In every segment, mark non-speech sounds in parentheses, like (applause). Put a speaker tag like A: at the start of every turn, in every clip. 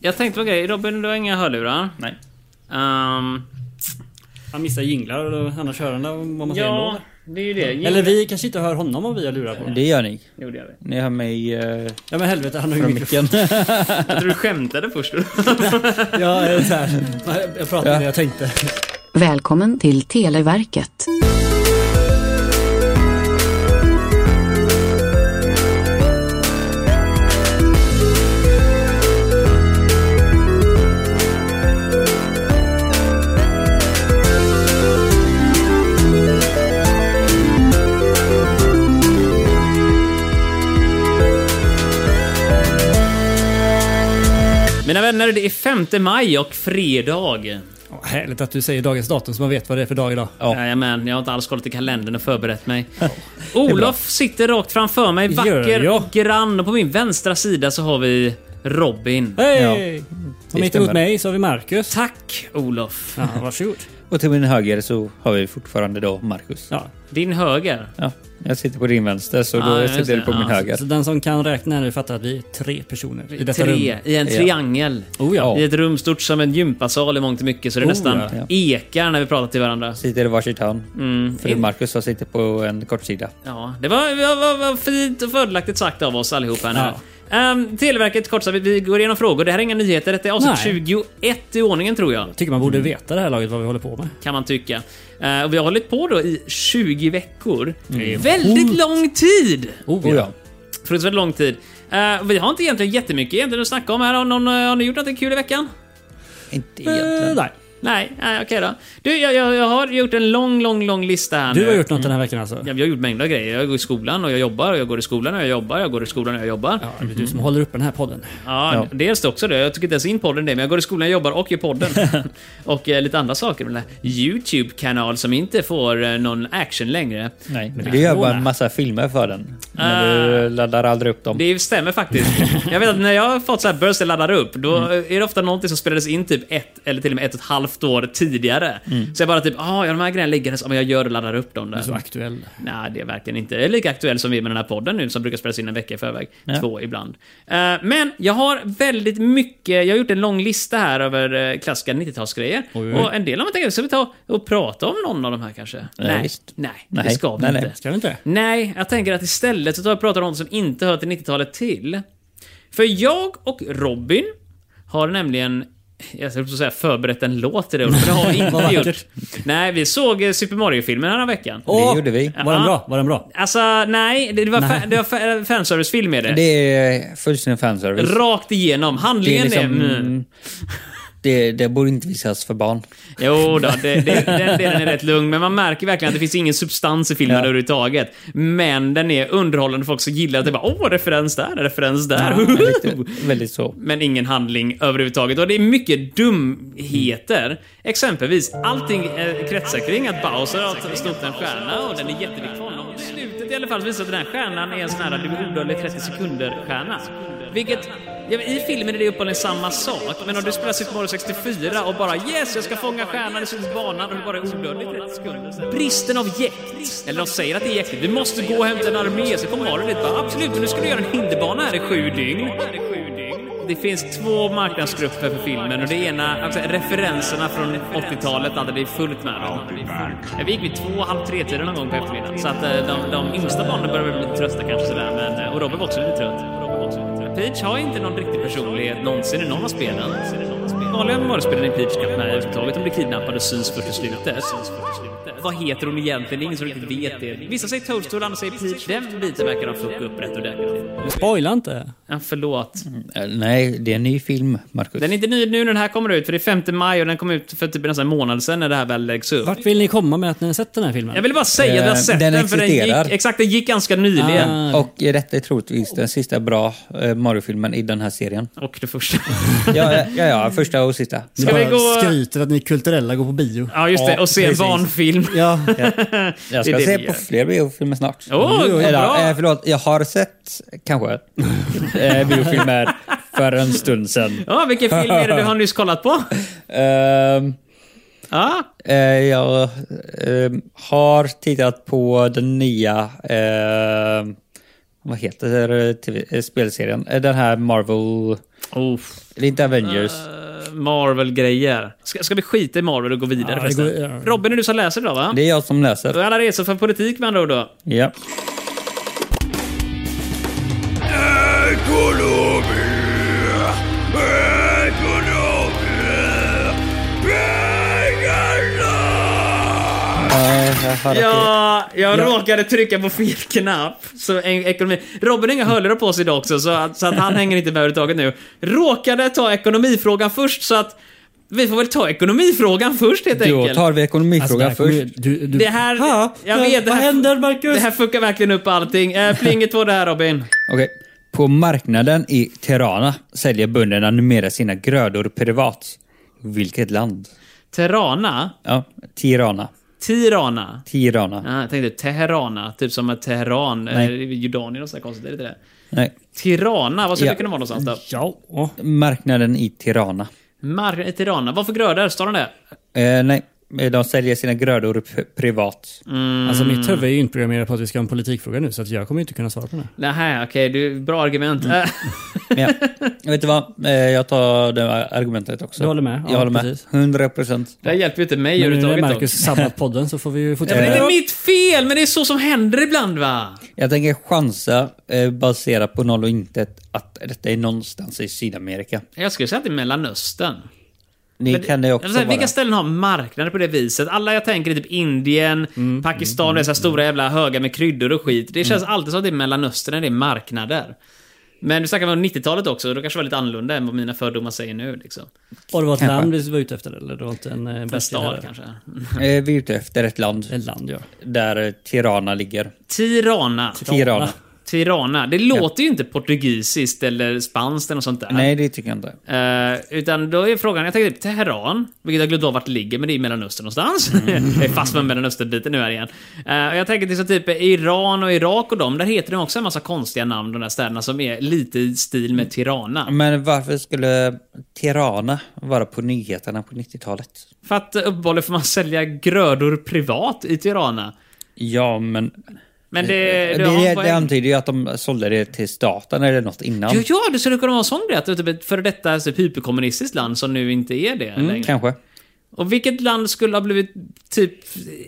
A: Jag tänkte på en grej. Robin, du har inga hörlurar?
B: Nej.
A: Ehm,
C: Han missar jinglar och annars hör han vad man säger
A: ja,
C: ändå.
A: det är ju det.
C: Eller vi kanske inte hör honom om vi har lurar på.
B: Det gör ni.
A: Jo, det gör vi.
B: Ni hör mig
A: eh,
B: uh,
C: Ja men helvete, han har ju
B: från
C: mikrofon.
B: micken.
A: Jag tror du skämtade först.
C: (laughs) Ja, eh, så här. Nej, Jag pratade
B: Ja.
C: det jag tänkte.
D: Välkommen till Televerket.
A: (laughs) Mina vänner, det är 5 maj och fredag.
C: Åh, Härligt att du säger dagens datum så man vet vad det är för dag idag.
B: Ja.
A: Jajamän, jag har inte alls kollat i kalendern och förberett mig. Olof sitter rakt framför mig,
C: Gör
A: vacker
C: jag?
A: och grann. Och på min vänstra sida så har vi Robin.
C: Hej!
B: det
C: Och mitt emot
B: stämmer.
C: mig så har vi Marcus.
A: Tack Olof.
C: Ja, varsågod.
B: Och till min höger så har vi fortfarande då Marcus.
C: Ja.
A: Din höger.
B: Ja, jag sitter på din vänster så
A: Ja,
B: då
A: just
B: sitter du
A: det.
B: på min
A: Ja,
B: höger.
C: Så den som kan räkna nu fattar att vi är tre personer i detta
A: Tre,
C: rum.
A: i en
B: Ja.
A: triangel.
C: Oh ja.
A: I ett rum stort som en gympasal i mångt och mycket så det
C: Oh,
A: nästan
C: ja.
A: ekar när vi pratar till varandra.
B: Sitter i varsitt hörn.
A: Mm.
B: För Marcus har sitter på en kortsida.
A: Ja, det var, var, var, var fint och fördelaktigt sagt av oss allihopa här nu.
C: Ja.
A: Ehm, Televerket, kort sagt, vi- vi går igenom frågor. Det här är inga nyheter. Detta är avsnitt
C: Nej.
A: 21 i ordningen tror jag.
C: Tycker man borde veta det här laget vad vi håller på med.
A: Kan man tycka. Eh, och vi har hållit på då i 20 veckor.
C: Mm.
A: Väldigt lång tid!
C: Oh,
B: Oh, ja.
A: Fruktansvärt lång tid. Eh, vi har inte egentligen jättemycket egentligen att snacka om här. Har, någon, eh, har ni gjort något kul i veckan?
B: Inte
C: Eh,
B: egentligen.
C: nej.
A: Nej, nej okej då. Du, jag, jag, jag har gjort en lång, lång, lång lista här
C: Du
A: nu.
C: har gjort något den här veckan alltså?
A: Ja, Jag har gjort mängder av grejer. Jag går i skolan och jag jobbar. och Jag går i skolan och jag jobbar. Jag går i skolan och jag jobbar.
C: Ja, det är du som håller upp den här podden.
A: Ja,
B: Ja.
A: dels det också det. Jag tycker inte ens in podden det, men jag går i skolan, jag jobbar och gör podden. och eh, lite andra saker. med Den här YouTube-kanal som inte får eh, någon action längre.
B: Nej, du gör bara en massa filmer för den. Men du laddar aldrig upp dem.
A: Ah. Det stämmer faktiskt. Jag vet att när jag har fått så här burst jag laddar upp, då eh, är det ofta någonting som spelades in typ ett eller till och med ett och ett halvt år tidigare. Så jag bara typ, ah, ja, de här grejerna ligger så, men jag gör och laddar upp dem där.
C: Så aktuell.
A: Nej, det är verkligen inte. Jag är lika aktuell som vi med den här podden nu som brukar spelas in en vecka i förväg. Två ibland. Eh, men jag har väldigt mycket, jag har gjort en lång lista här över eh, klassiska 90-talsgrejer.
C: Oj, Eh, oj.
A: Och en del av dem tänker jag, ska vi ta och prata om någon av de här kanske? nej,
B: visst.
A: nej, det
B: Nej,
A: ska vi
B: nej,
A: inte.
B: nej.
C: Ska vi inte?
A: Nej, jag tänker att istället så tar jag och pratar om något som inte hör till 90-talet till. För jag och Robin har nämligen jag skulle säga förberett en låt till det, men det har vi
C: (laughs) Vad
A: inte gjort.
C: vackert.
A: Nej, vi såg eh, Super Mario-filmen den här veckan.
C: Åh!
B: gjorde vi.
C: Var den bra? Var den bra?
A: Alltså, nej. Det, det var, Fa- det var fa- eh, fanservice-film är det.
B: Det är fullständig fanservice.
A: Rakt igenom.
B: Det, är
A: Handlingen är...
B: liksom,
A: Mm.
B: det, det borde inte visas
A: (laughs)
B: för barn.
A: Jo då, det, det, den delen är rätt lugn, men man märker verkligen att det finns ingen substans i filmen
B: Ja.
A: överhuvudtaget. Men den är underhållande, folk som gillar att det bara åh, referens där, referens där. (laughs)
B: Men riktigt, väldigt så.
A: men ingen handling överhuvudtaget. Och det är mycket dumheter. Exempelvis, allting eh, kretsar kring att Bowser har snott en stjärna och den är jätteviktig för honom. I slutet i alla fall så visar det att den här stjärnan är en sån här du borde 30 sekunder-stjärna. Vilket, ja, men i filmen är det uppenbarligen samma sak, men om du spelar Super Mario 64 och bara yes, jag ska fånga stjärnan i slutet av banan och det bara är onödigt 30 sekunder. Bristen av jäkt. Eller de säger att det är jäktigt. Du måste gå och hämta en armé, så kommer Mario dit och bara absolut, men nu ska du göra en hinderbana här i sju dygn. Det finns två marknadsgrupper för filmen och det ena, alltså, referenserna från 80-talet hade vi fullt med dem. Vi gick vid två, halv tre-tiden någon gång på eftermiddagen. Så att eh, de, de yngsta barnen började väl bli trösta kanske sådär, men, eh, och Robin var också lite trött. Peach har inte någon riktig personlighet någonsin i någon av spelen. Vanliga Mario-spelen i Peach kan med överhuvudtaget. De blir kidnappade och syns först i slutet. Vad heter hon egentligen? Det är ingen som riktigt vet det. Vissa säger Toadstool, andra säger Peach. Den biten verkar de fucka upp rätt ordentligt.
C: Spoila inte.
A: Ja, förlåt.
B: Eh, Nej, det är en ny film, Marcus.
A: Den är inte ny nu när den här kommer ut, för det är 5 maj och den kom ut för typ nästan en månad sedan när det här väl läggs upp.
C: Vart vill ni komma med att ni har sett den här filmen?
A: Jag ville bara säga att jag har
B: Eh,
A: sett den,
B: den
A: för den
B: existerar.
A: gick, exakt, den gick ganska nyligen.
C: Ah.
B: Och detta är troligtvis den sista bra eh, Mario-filmen i den
A: (laughs)
B: här serien.
A: Och det första.
B: Ja, eh, ja, ja första och sista.
C: Ni
A: Ska vi
C: bara
A: gå-
C: skryter att ni är kulturella går på bio.
A: Ja, just det. Och se en
B: precis.
A: barnfilm. (laughs)
C: Ja.
B: Jag
A: Det är
B: ska
A: det
B: se
A: vi gör.
B: på fler biofilmer snart.
A: Åh, vad bra!
B: eh, förlåt, jag har sett
A: (laughs)
B: kanske eh, biofilmer för en stund sedan.
A: Ja, vilken film är det du har nyss kollat på?
B: Ehm,
A: Ja,
B: eh, jag ehm, har tittat på den nya, ehm, vad heter det, TV, eh, spelserien? Eh, Den här Eh, Marvel...
A: Oh,
B: Eller inte Avengers.
A: eh, Marvel-grejer. Ska, ska vi skita i Marvel och gå vidare
E: Ja, det
A: förresten?
E: går- ja.
A: Robin, är du som läser idag va?
B: Det är jag som läser.
A: Alla resor för politik med andra ord då.
B: Ja.
A: Ja, jag råkade trycka på fel knapp. Så en, ekonomi. Robin har inga hörlurar på sig idag också, så att, så att han hänger inte med överhuvudtaget nu. Råkade ta ekonomifrågan först, så att vi får väl ta ekonomifrågan först helt
B: Då
A: enkelt.
B: tar vi
E: Alltså,
B: ekonomifrågan
E: där kommer ju-
B: först.
E: Du, du,
A: Det här...
C: Ha,
A: jag
C: vad-
A: vet, det
C: vad
A: här,
C: händer, Marcus?
A: Det här fuckar verkligen upp allting. Eh, plinget var det här Robin.
B: Okej. På marknaden i Tirana säljer bönderna numera sina grödor privat. Vilket land?
A: Terana?
B: Ja, Tirana.
A: Tirana?
B: Tirana.
A: Ah, jag tänkte Teherana, typ som att Teheran, eh,
B: Nej.
A: Jordanien och sådär konstigt, är det inte det?
B: Nej.
A: Tirana, vad skulle
B: Ja.
A: det kunna vara någonstans då?
E: ja,
B: Marknaden i Tirana.
A: Mar- Tirana, vad för grödor? Står den där?
B: Eh, nej, de säljer sina grödor p- privat.
E: alltså mitt huvud är ju inprogrammerat på att vi ska ha en politikfråga nu så att jag kommer ju inte kunna svara på den.
A: Nähä, okej, du, bra argument. (laughs) Eh,
B: Mm. Ja. Vet du vad? Eh, jag tar det här argumentet också.
E: Du håller med?
B: Jag
E: Ja,
B: håller med.
E: precis.
B: 100 procent.
A: det här hjälper ju inte mig
E: Men nu när
A: överhuvudtaget.
E: Marcus
A: dock.
E: sabbat podden så får vi ju
A: Ja, men det är
E: fortsätta.
A: inte mitt fel, men det är så som händer ibland va?
B: Jag tänker chansa eh, baserat på noll och intet att detta är någonstans i Sydamerika.
A: Jag skulle säga att det är Mellanöstern.
B: Ni
A: Men-
B: kan det också
A: Jag vill säga,
B: vara.
A: Vilka ställen har marknader på det viset? Alla jag tänker är typ
B: Mm.
A: Indien, Pakistan, det är så här stora jävla högar med kryddor och skit. Det känns alltid som att det är Mellanöstern när det är marknader. Men du snackar om 90-talet också, då kanske det var lite annorlunda än vad mina fördomar säger nu. Liksom.
E: Och det var ett
B: Kanske.
E: land vi var ute efter eller? Det var inte en, eh,
A: En
E: bättre
A: stad
E: herre.
A: kanske. Mm.
B: Eh, vi är ute efter ett land
E: Ett land ja.
B: där eh, Tirana ligger.
A: Tirana.
B: Tirana.
A: Tirana. Det låter ju inte portugisiskt eller spanskt eller något sånt där.
B: Nej, det tycker jag inte.
A: Eh, utan då är frågan, jag tänkte typ Teheran, vilket jag glömt av vart det ligger, men det är i Mellanöstern någonstans. (laughs) jag är fast med Mellanöstern-biten nu här igen. Eh, och jag tänker till så typ Iran och Irak och dem, där heter de också en massa konstiga namn, de där städerna som är lite i stil med Tirana.
B: Men varför skulle Tirana vara på nyheterna på 90-talet?
A: För att eh, uppenbarligen får man sälja grödor privat i Tirana.
B: Ja, men
A: Men
B: Det,
A: det...
B: det,
A: du har en
B: det,
A: poäng.
B: antyder ju att de sålde det till staten eller något innan.
A: Ja, ja, det skulle kunna vara en sån grej. Att det är typ ett före detta typ, hyperkommunistiskt land som nu inte är det längre.
B: Mm, Kanske.
A: Och vilket land skulle ha blivit typ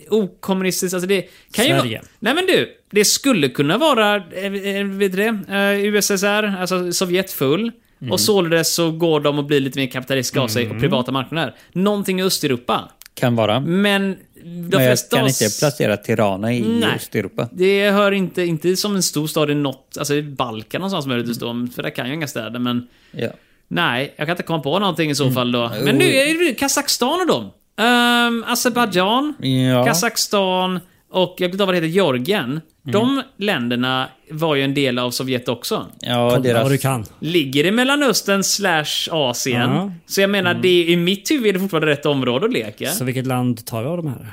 A: okommunistiskt? Alltså det kan ju
E: Sverige.
A: vara... Nej men du, det skulle kunna vara eh, eh, vet du det, eh, USSR, alltså Sovjet full.
B: Mm.
A: Och således så går de och blir lite mer kapitalistiska av sig och privata marknader. Någonting i Östeuropa.
B: Kan vara.
A: Men de
B: Men jag
A: flesta...
B: kan
A: av-
B: inte placera Tirana i
A: Nej.
B: Östeuropa.
A: Det hör inte, inte som en stor stad i något, alltså i Balkan någonstans möjligtvis
B: Mm.
A: då, för där kan jag inga städer men...
B: Ja.
A: Nej, jag kan inte komma på någonting i
B: Mm.
A: så fall då. Men nu är det Kazakstan och dem. Um, Azerbajdzjan,
B: Ja.
A: Kazakstan och jag glömde vad det heter,
E: Mm.
A: Georgien. De länderna var ju en del av Sovjet också.
B: Ja,
E: Podda vad du
B: deras...
E: kan.
A: Ligger i Mellanöstern slash Asien.
E: Ja. Mm.
A: Så jag menar, det, i mitt huvud är det fortfarande rätt område att leka.
E: Så vilket land tar vi av de här?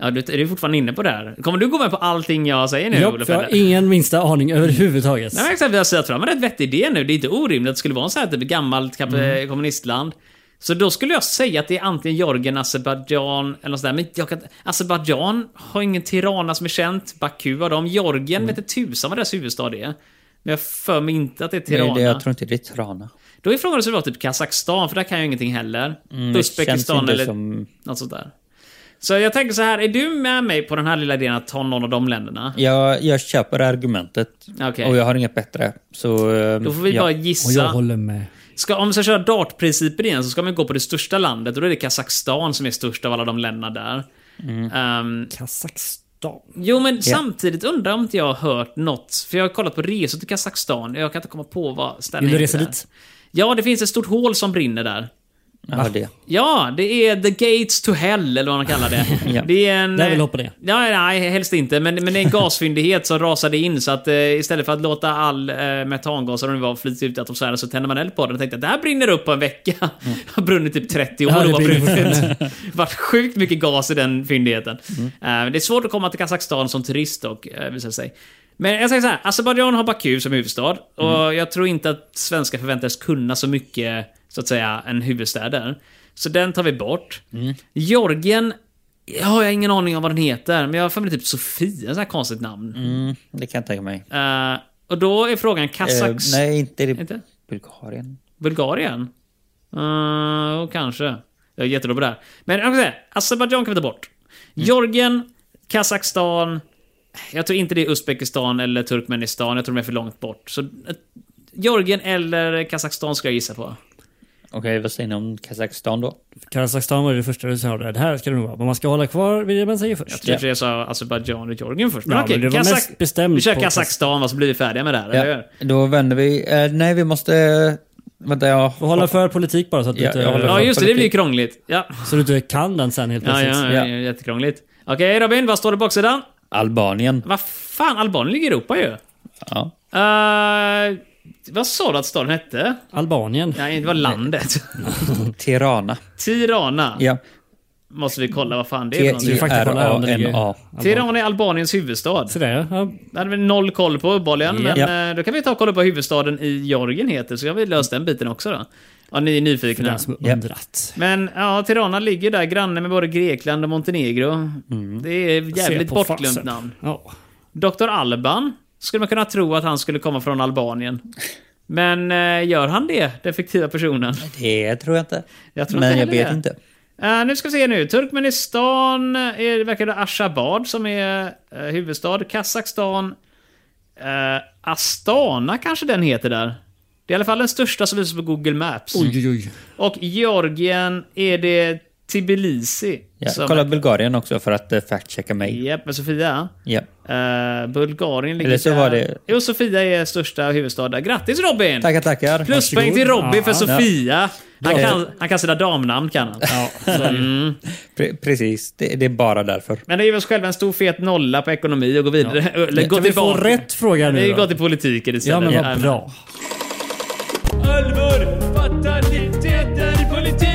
A: Ja, du, du är fortfarande inne på det här. Kommer du gå med på allting jag säger nu,
E: Ja,
A: Olof?
E: för jag
A: eller?
E: har ingen minsta aning överhuvudtaget.
A: Nej, men exakt, vi har sett fram en rätt vettig idé nu. Det är inte orimligt att det skulle vara en sån här typ gammalt kap-
B: Mm.
A: kommunistland. Så då skulle jag säga att det är antingen Georgien, Azerbajdzjan eller något sånt där. Men jag kan... Azerbajdzjan har ingen Tirana som är känt. Baku har dem. Georgien mm. vete tusan vad deras huvudstad är. Men jag för mig inte att det är Tirana.
B: Nej, det, jag tror inte det är Tirana.
A: Då är frågan om det skulle vara typ Kazakstan, för där kan jag ju ingenting heller.
B: Mm, det känns
A: Uzbekistan
B: inte
A: eller
B: som-
A: något sånt där. Så jag tänker så här, är du med mig på den här lilla idén att ta någon av de länderna?
B: Jag, jag köper argumentet.
A: Okej.
B: Och jag har inget bättre. Så... eh,
A: Då får vi
B: ja.
A: bara
E: Och jag
A: gissa.
E: håller med.
A: Ska, om vi ska köra dartprincipen igen så ska man gå på det största landet och då är det Kazakstan som är störst av alla de länderna där.
E: Mm.
A: Ehm,
E: Kazakstan.
A: jo men samtidigt undrar om inte jag har hört något, för jag har kollat på resor till Kazakstan och jag kan inte komma på vad stället
E: Vill du
A: heter
E: resa
A: där.
E: dit?
A: Ja, det finns ett stort hål som brinner där.
B: Ja, det.
A: Ja, det är The Gates to Hell, eller vad man kallar
E: (laughs)
A: det.
B: Ja.
A: Det är en... eh,
E: Där vill jag hoppa ner.
A: Ja, nej, helst inte. Men, men det är en gasfyndighet som rasade in, så att eh, istället för att låta all eh, metangas som det var flyta ut i atmosfären så tände man eld på den och tänkte att det här brinner upp på en vecka.
E: Mm.
A: (laughs) Har brunnit typ 30 år
E: Ja, det
A: och bara
E: brinner
A: brunnit. varit sjukt mycket gas i den fyndigheten. Eh, det är svårt att komma till Kazakstan som turist dock, eh, visar det sig. Men jag säger så här, Azerbajdzjan har Baku som huvudstad och jag tror inte att svenskar förväntas kunna så mycket, så att säga, en huvudstad där. Så den tar vi bort. Georgien Ja, jag har ingen aning om vad den heter, men jag har för mig typ Sofia, ett sånt här konstigt namn.
B: Mm, det kan jag tänka mig.
A: Eh, och då är frågan
B: Eh,
A: Kazaks...
B: nej, inte det.
A: Inte?
B: Bulgarien.
A: Bulgarien? Uh, kanske. Jag är jättedålig på det här. Men jag kan säga, Azerbajdzjan kan vi ta bort.
E: Mm.
A: Georgien, Kazakstan. Jag tror inte det är Uzbekistan eller Turkmenistan. Jag tror de är för långt bort. Så eh, Georgien eller Kazakstan skulle jag gissa på.
B: Okej, vad säger ni om Kazakstan då?
E: Kazakstan var ju det första du sa. Det här ska det nog vara. Men man ska hålla kvar vid det man säger först.
A: Jag tror jag sa Azerbajdzjan och Georgien först. Men
E: Ja,
A: okej,
E: men det var
A: Kazak...
E: mest bestämt
A: Vi kör
E: på-
A: Kazakstan och så blir vi färdiga med det här. eller
B: Ja,
A: hur?
B: då vänder vi. Eh, nej, vi måste... vänta, jag...
E: Och hålla för politik bara så att du,
B: Ja,
E: inte,
B: jag håller
A: Ja,
B: för
A: just det. Det blir ju krångligt. Ja,
E: så du inte kan den sen helt
A: ja,
E: plötsligt.
A: ja, ja.
B: Ja.
A: jättekrångligt. Okej Robin, vad står det på baksidan?
B: Albanien.
A: Vad fan, Albanien ligger i Europa ju.
B: Ja.
A: Eh, vad sa du att staden hette?
E: Albanien.
A: Nej, det var landet. (laughs)
B: Tirana.
A: Tirana.
B: Ja.
A: Måste vi kolla vad fan det är för någonting.
B: T-I-R-A-N-A.
A: Tirana är Albaniens huvudstad.
E: Sådär ja. ja.
A: Det hade vi noll koll på uppenbarligen,
B: Ja.
A: men eh, då kan vi ta och kolla på huvudstaden i Georgien heter, så har vi löst den biten också då. Ja, ni är
E: För
A: nyfikna.
E: den som
B: Ja.
E: undrat.
A: Men ja, Tirana ligger där, granne med både Grekland och Montenegro. Det är ett jävligt
E: Se på
A: bortglömt
E: fasen.
A: namn.
E: Ja.
A: Dr. Alban skulle man kunna tro att han skulle komma från Albanien. Men eh, gör han det, den fiktiva personen?
B: Det tror jag inte.
A: Jag tror
B: Men
A: inte
B: jag
A: heller
B: vet
A: det.
B: inte.
A: Eh, nu ska vi se nu. Turkmenistan är, verkar det Ashgabat som är eh, huvudstad. Kazakstan. eh, Astana kanske den heter där. Det är i alla fall den största som visas på Google Maps.
E: Oj, oj.
A: Och Georgien är det Tbilisi.
B: Ja,
A: som-
B: kolla Bulgarien också för att eh, fact-checka mig.
A: Japp, med Sofia.
B: Ja.
A: Eh, Bulgarien ligger
B: Eller så
A: där.
B: var det-
A: Jo, Sofia är största huvudstad där. Grattis Robin!
B: Tackar, tackar.
A: Pluspoäng till
E: Varsågod.
A: Robin för
E: Ja.
A: Sofia. Han
B: Bra.
A: kan, han kan sina damnamn kan han. Mm.
E: Ja, så är det.
B: Pre- precis, det, det är bara därför.
A: Men det ger oss själva en stor fet nolla på ekonomi och gå vidare. Eller gå
E: Kan vi få
A: tillbaka.
E: rätt fråga
A: Vi
E: nu
A: går
E: då?
A: till politiken
E: Ja
A: istället.
E: men vad bra.
A: Allvar, fataliteter, politik!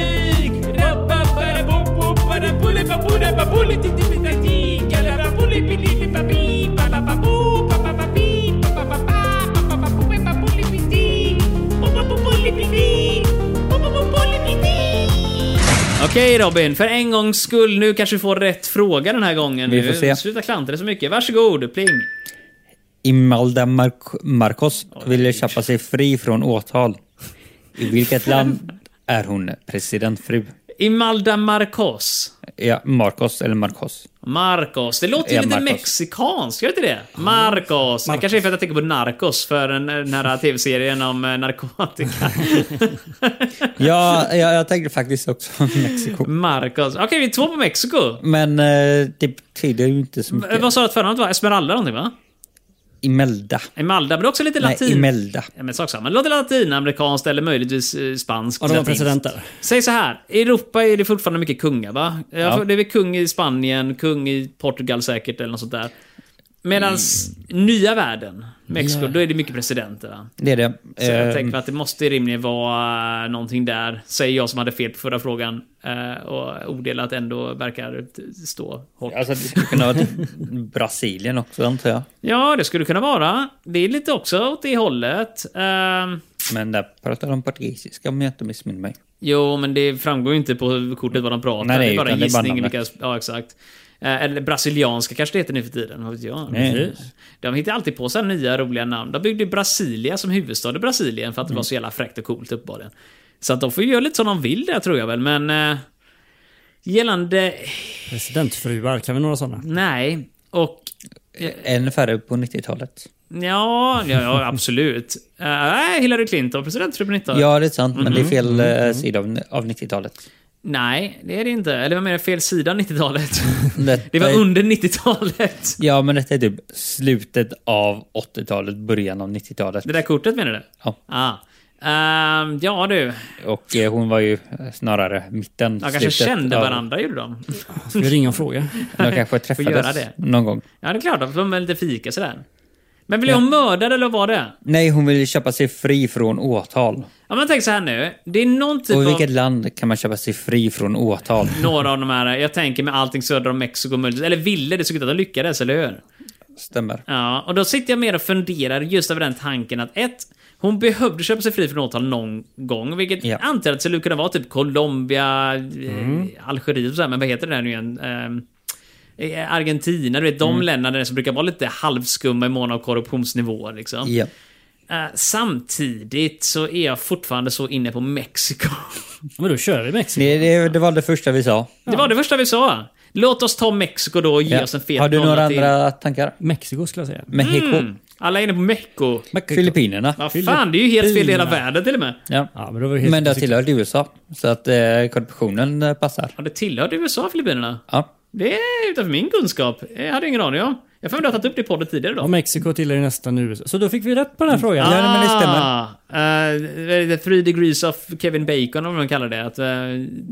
A: Okej Robin, för en gångs skull. Nu kanske vi får rätt fråga den här gången.
B: Vi
A: nu.
B: får se.
A: Sluta klantra dig så mycket. Varsågod, pling.
B: Imelda Marc- Marcos ville köpa sig fri från åtal. I vilket land är hon presidentfru?
A: Imelda Marcos.
B: Ja, Marcos eller Marcos.
A: Marcos. Det låter ju
B: Ja,
A: lite
B: Marcos.
A: mexikanskt, gör det inte det? Marcos. Det kanske är för att jag tänker på Narcos, för den, eh, den här tv-serien om eh,
B: (laughs)
A: narkotika.
B: Ja, jag, jag tänkte faktiskt också (laughs) Mexiko.
A: Marcos. Okej, vi är två på Mexiko.
B: Men eh, det betyder ju inte så
A: Eh,
B: mycket.
A: Vad sa du att förnamnet var? Esmeralda någonting va?
B: Imelda.
A: Emalda, men det är också lite
B: Nej,
A: latin.
B: Imelda.
A: Ja, men sak samma. Det låter latinamerikanskt eller möjligtvis eh, spanskt.
E: Och de var
A: Latinskt.
E: president där.
A: Säg så här, i Europa är det fortfarande mycket kungar va? Jag tror Det är väl kung i Spanien, kung i Portugal säkert eller något sånt där. Medan
B: Mm.
A: nya världen, Mexiko, då är det mycket presidenter va?
B: Det är det.
A: Så jag
B: Eh,
A: tänker mig att det måste rimligen vara eh, någonting där, säger jag som hade fel på förra frågan. eh, Och odelat ändå verkar t- stå hårt.
B: Alltså det skulle kunna vara Brasilien också antar jag.
A: Ja, det skulle kunna vara. Det är lite också åt det hållet. Ehm,
B: Men där pratar de portugisiska om jag inte missminner mig.
A: Jo, men det framgår ju inte på kortet vad de pratar.
B: Nej,
A: det är bara en
B: utan det är bara
A: gissning.
B: namnet.
A: vilka, ja, exakt. Eh, Eller brasilianska kanske det heter nu för tiden, vad vet jag?
B: Nej.
A: De hittar alltid på så här nya roliga namn. De byggde ju Brasilia som huvudstad i Brasilien för att det
B: Mm.
A: var så jävla fräckt och coolt uppenbarligen. Så att de får ju göra lite som de vill där tror jag väl, men... eh, gällande...
E: Presidentfruar, kan vi några sådana?
A: Nej. Och... Eh,
B: Än färre på 90-talet.
A: Ja, ja, ja absolut. (laughs) Eh, Nej, Hillary Clinton, presidentfru på 90
B: Ja, det är sant, men det
A: Mm.
B: är fel eh, sida av, av 90-talet.
A: Nej, det är det inte. Eller vad menar jag? Fel sida av
B: (laughs)
A: 90-talet?
B: Detta
A: Det var
B: är-
A: under 90-talet.
B: Ja, men detta är typ slutet av 80-talet, början av 90-talet.
A: Det där kortet menar du?
B: Ja.
A: Ah. Ehm, ja du,
B: Och eh, hon var ju eh, snarare mitten.
A: de kanske
B: slutet
A: kände
B: av-
A: varandra gjorde de.
E: Ska vi ringa och fråga?
B: De kanske
A: göra
B: träffades
A: det.
B: någon gång.
A: Ja det är klart, de var lite fika sådär. Men blev hon mördad eller vad var det?
B: Nej, hon ville köpa sig fri från åtal.
A: Ja men tänk så här nu, det är någon typ
B: Och i
A: av...
B: vilket land kan man köpa sig fri från åtal?
A: Några av de här, jag tänker med allting söder om Mexiko möjligtvis, eller ville, det såg ut att de lyckades, eller hur?
B: Stämmer.
A: Ja, och då sitter jag mer och funderar just över den tanken att ett, hon behövde köpa sig fri från åtal någon gång, vilket
B: Ja. Mm.
A: jag antar att det skulle kunna vara typ Colombia, eh, Algeriet och sådär, men vad heter det där nu igen? Ehm, eh,
B: Mm.
A: Argentina, du vet de länderna där som brukar vara lite halvskumma i mån av korruptionsnivåer liksom.
B: Ja.
A: Eh, Eh, samtidigt så är jag fortfarande så inne på Mexiko. (laughs)
E: Men då kör vi Mexiko.
B: Det, det, det var det första vi sa.
A: Det var det första vi sa. Låt oss ta Mexiko då och ge
B: Ja.
A: oss en fet
B: Har du
A: nolla
B: några
A: till. Mm.
B: andra tankar?
E: Mexiko skulle jag säga.
B: Mexiko?
A: Alla är inne på Mexiko.
B: Filippinerna?
A: Vad fan, det är ju helt fel i hela världen till och med.
B: Ja.
E: Ja, men då var det helt
B: Men det har tillhört USA, så att eh, korruptionen eh, passar.
A: Ja, det tillhörde USA, Filippinerna.
B: Ja.
A: Det är utanför min kunskap. Jag hade ingen aning om. Jag får väl ha tagit upp det i podden tidigare
E: Ja,
A: då.
E: Mexiko tillhör ju nästan USA. Så då fick vi rätt på den här frågan.
B: Ja, men det stämmer.
A: Ah, eh, the three degrees of Kevin Bacon, om man kallar det. Att, eh, (laughs)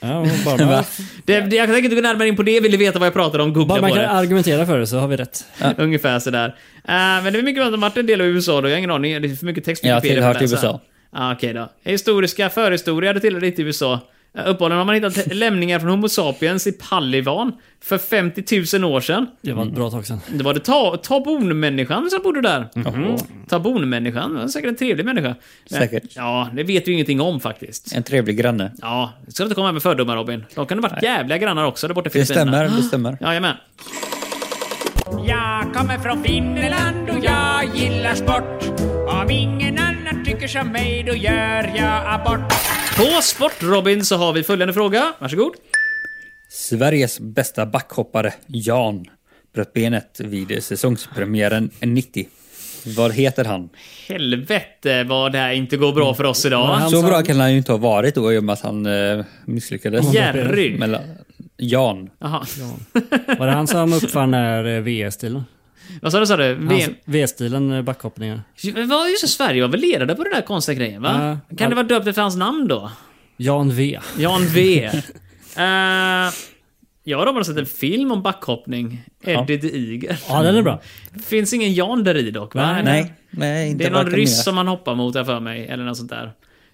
E: Ja, bara, bara,
A: det, det jag tänker inte gå närmare in på det. Vill ni veta vad jag pratade om, googla
E: bara man
A: på
E: kan
A: det.
E: argumentera för det så har vi rätt.
A: Ungefär sådär. Eh, men det är mycket bra att de har varit en del av USA då. Jag har ingen aning. Det är för mycket text på
B: Ja,
A: Wikipedia för att
B: tillhör
A: läsa.
B: till USA.
A: Ah, Okej då. Historiska förhistorier det tillhör inte USA. Eh, Uppehållen har man hittat (laughs) lämningar från Homo sapiens i Pallivan för 50 000 år sedan.
E: Det var ett bra tag sedan.
A: Det var det ta tabonmänniskan som bodde där.
B: Mm-hmm.
A: Tabonmänniskan, det var säkert en trevlig människa. Men-
B: Säkert.
A: Ja, det vet vi ingenting om faktiskt.
B: En trevlig granne.
A: Ja, ska du inte komma med fördomar Robin. De kan ha varit jävliga grannar också där borta i
B: Det
A: Filippinerna. Ah.
B: stämmer, det stämmer.
A: Jajamän.
F: Jag kommer från Finland och jag gillar sport. Om ingen annan tycker som mig då gör jag abort.
A: På sport Robin så har vi följande fråga. Varsågod.
B: Sveriges bästa backhoppare, Jan, bröt benet vid säsongspremiären 90. Vad heter han?
A: Helvete vad det här inte går bra för oss idag.
B: Så bra kan han ju inte ha varit då i och med att han eh, misslyckades.
A: Jerry.
B: Mellan- Jan.
A: Jaha.
E: Var det han som uppfann den här eh, VS-stilen?
A: Vad sa du? Sa du?
E: Hans-
A: VM?
E: VS-stilen eh, backhoppningar.
A: Men vad- Just det, Sverige var väl ledare på den där konstiga grejen va?
E: Ja.
A: Kan det vara döpt efter hans namn då?
E: Jan V.
A: Jan
B: (laughs)
A: V. Eh, jag har bara sett en film om backhoppning. Eddie the Eagle.
E: Ja, den är bra.
A: Det finns ingen Jan där i dock va?
E: Nej,
B: Nej, nej inte
A: Det är någon
B: varken
A: ryss
B: mer.
A: som han hoppar mot där för mig, eller något sånt där.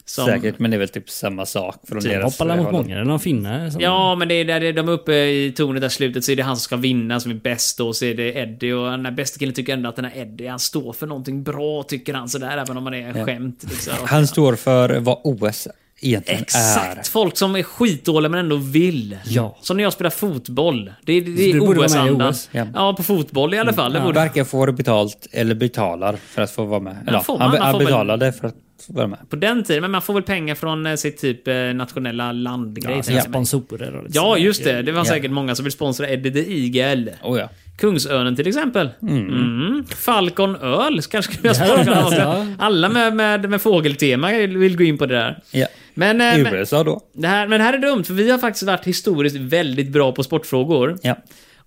A: Som,
B: Säkert, men det är väl typ samma sak från
E: Den
B: deras
E: hoppar alla mot
B: håll.
E: många. Det är någon finne. som-
A: Ja, men det är där det- de är uppe i tornet där slutet så är det han som ska vinna som är bäst då, så är det Eddie och den här bästa killen tycker ändå att den här Eddie, han står för någonting bra tycker han sådär, även om man är skämt. Liksom.
B: Han står för vad OS egentligen
A: Exakt!
B: är.
A: Folk som är skitdåliga men ändå vill.
E: Ja.
A: Som när jag spelar fotboll. Det är, det är
E: du borde vara med i
A: OS-andan.
E: OS,
B: ja.
A: Ja, på fotboll
E: Mm.
A: i alla fall. Det
B: Han
A: borde
B: varken får betalt eller betalar för att få vara med. Eller,
A: får man,
B: han,
A: man får
B: han
A: väl-
B: betalade för att vara med.
A: på den tiden, men man får väl pengar från eh, sitt typ eh, nationella landgrej.
E: Ja,
A: tänker
E: sina
A: jag mig.
E: Alltså, sponsorer och lite
A: ja,
E: sådär.
A: just det. Det var säkert många som vill sponsra Eddie the Eagle.
B: Oh, ja.
A: Kungsörnen till exempel. Mm. Falcon Öl kanske skulle jag
E: Ja, alltså.
A: spara.
E: ja.
A: Alla med, med, med fågeltema vill gå in på det där.
B: Ja.
A: Men, eh,
B: I
A: men,
B: USA då.
A: det här, men det här är dumt, för vi har faktiskt varit historiskt väldigt bra på sportfrågor.
B: Ja.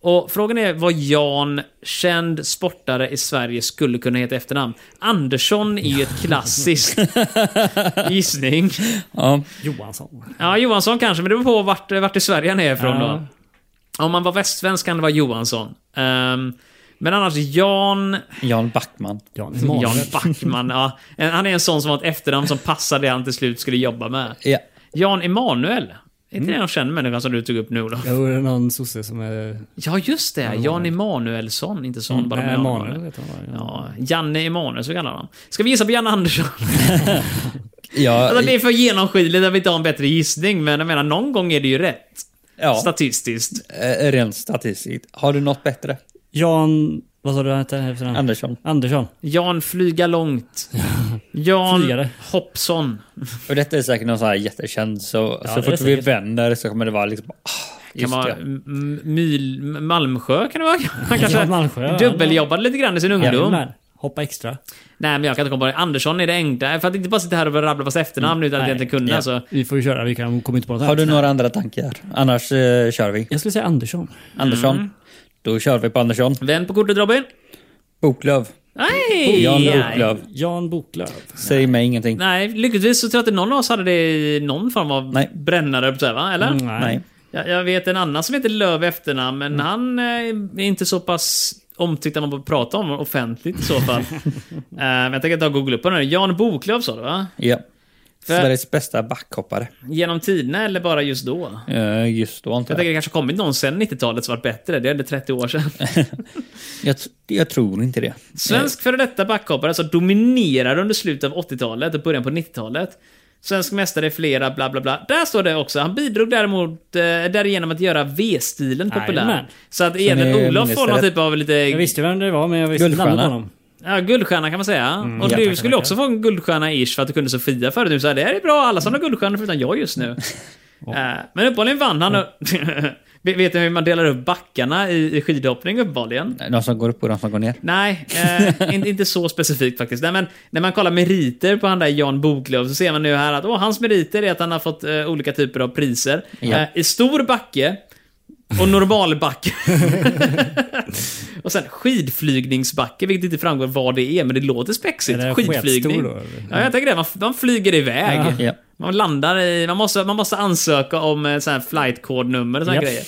A: Och frågan är vad Jan, känd sportare i Sverige, skulle kunna heta efternamn. Andersson är ju ett
E: (laughs)
A: klassiskt gissning.
B: Ja.
E: Johansson.
A: Ja, Johansson kanske, men det beror på vart, vart i Sverige han är ifrån
E: Ja.
A: då. Om man var västsvensk kan det vara Johansson. Ehm, men annars Jan...
B: Jan Backman.
E: Jan
A: Jan
E: Emanuel.
A: Backman. ja, En- han är en sån som har ett efternamn som passar det han till slut skulle jobba med.
B: Ja.
A: Jan Emanuel. Är inte det
E: Mm.
A: någon känd människa som du tog upp nu då?
E: Jo, det är någon sosse som är...
A: Ja, just det. Jan Emanuelsson. Inte sån, bara
E: Mm. Nej,
A: med
E: Emanuel heter han bara. Ja.
A: Ja, Janne Emanuel, så kallar de Ska vi gissa på Janne
E: (laughs)
A: Andersson?
B: Ja,
A: Alltså, det är för genomskinligt att vi inte har en bättre gissning, men jag menar, någon gång är det ju rätt.
B: ja,
A: Statistiskt.
B: eh, rent statistiskt. Har du något bättre?
E: Jan... Vad sa du han hette? efter han?
B: Andersson.
E: Andersson.
A: Jan flyga
E: (laughs)
A: långt. Jan
E: Flygare.
A: Hoppson.
B: Och detta är säkert någon sån här jättekänd, så,
E: det
B: så
E: är
B: fort vi
E: säkert.
B: vänder så kommer det vara liksom... Ah,
A: Kan
B: just
A: vara
B: det.
A: M- M- Myl, M- Malmsjö kan det vara. (laughs) Han kanske
E: Jan Malmsjö, ja.
A: dubbeljobbade lite grann i sin ungdom.
E: Jajamän. Hoppa extra.
A: Nej, men jag kan inte komma på det. Andersson är det enkla. För att inte bara sitta här och rabbla fast efternamn utan att jag
E: Mm, Nej.
A: inte kunde.
E: Ja.
A: Så.
E: Vi får ju köra, vi kan, kommer inte på något
B: Har
E: annat.
B: du några andra tankar? Annars eh, kör vi.
E: Jag skulle säga Andersson.
B: Andersson.
A: Mm.
B: Då kör vi på Andersson.
A: Vänd på kortet Robin.
B: Boklöv.
A: Nej!
B: Jan
A: Nej.
B: Boklöv.
E: Jan Boklöv.
B: Säg mig ingenting.
A: Nej, lyckligtvis så tror jag inte någon av oss hade det i någon form av
B: Nej.
A: brännare, så här, va? eller?
E: Mm, nej. Mm.
B: Nej.
A: Jag, jag vet en annan som heter Löv i efternamn, men han eh, är inte så pass omtyckt att man får prata om offentligt i så
E: (laughs)
A: fall. Eh, men jag tänker ta och googla upp honom. Jan Boklöv sa du va?
B: Ja.
A: För-
B: Sveriges bästa backhoppare.
A: Genom tiderna eller bara just då?
B: Eh, Just då antar
A: Jag
B: jag.
A: tänker det kanske kommit någon sen 90-talet som varit bättre. Det är ändå 30 år sedan.
E: (laughs)
B: Jag, t- jag tror inte det.
A: Svensk före detta backhoppare som dominerade under slutet av 80-talet och början på 90-talet. Svensk mästare i flera, bla bla bla. Där står det också. Han bidrog däremot eh, därigenom att göra V-stilen populär.
E: Jajamän.
A: Så att
B: ni
A: Edvin Olof
B: minns
A: får någon
B: det
A: typ av lite...
E: Jag visste ju vem det var, men jag visste inte
B: Guldstjärna.
E: namnet på honom.
A: Ja, guldstjärna kan man säga. och
E: Ja,
A: du
E: tack,
A: skulle
E: tack.
A: också få en guldstjärna-ish för att du kunde Sofia förut. Du sa det här är bra, alla som har guldstjärnor förutom jag just nu. Eh, men uppenbarligen vann han. Vet (laughs) vet ni hur man delar upp backarna i, i skidhoppning uppenbarligen?
B: De som går upp och de som går ner.
A: Nej, eh, inte, inte så specifikt faktiskt. Nej, men när man kollar meriter på han där Jan Boklöv så ser man nu här att åh, hans meriter är att han har fått eh, olika typer av priser.
B: Ja.
A: Eh, I stor backe och
B: (laughs)
A: normalbacke. och sen skidflygningsbacke, vilket inte framgår vad det är, men det låter spexigt.
E: Är det
A: Skidflygning.
E: sketstor då, eller?
A: ja, jag tänker det. Man, man flyger iväg.
B: Ja.
A: Man landar i... Man måste, man måste ansöka om eh, sån här flight code-nummer och såna
E: Japp.
A: grejer.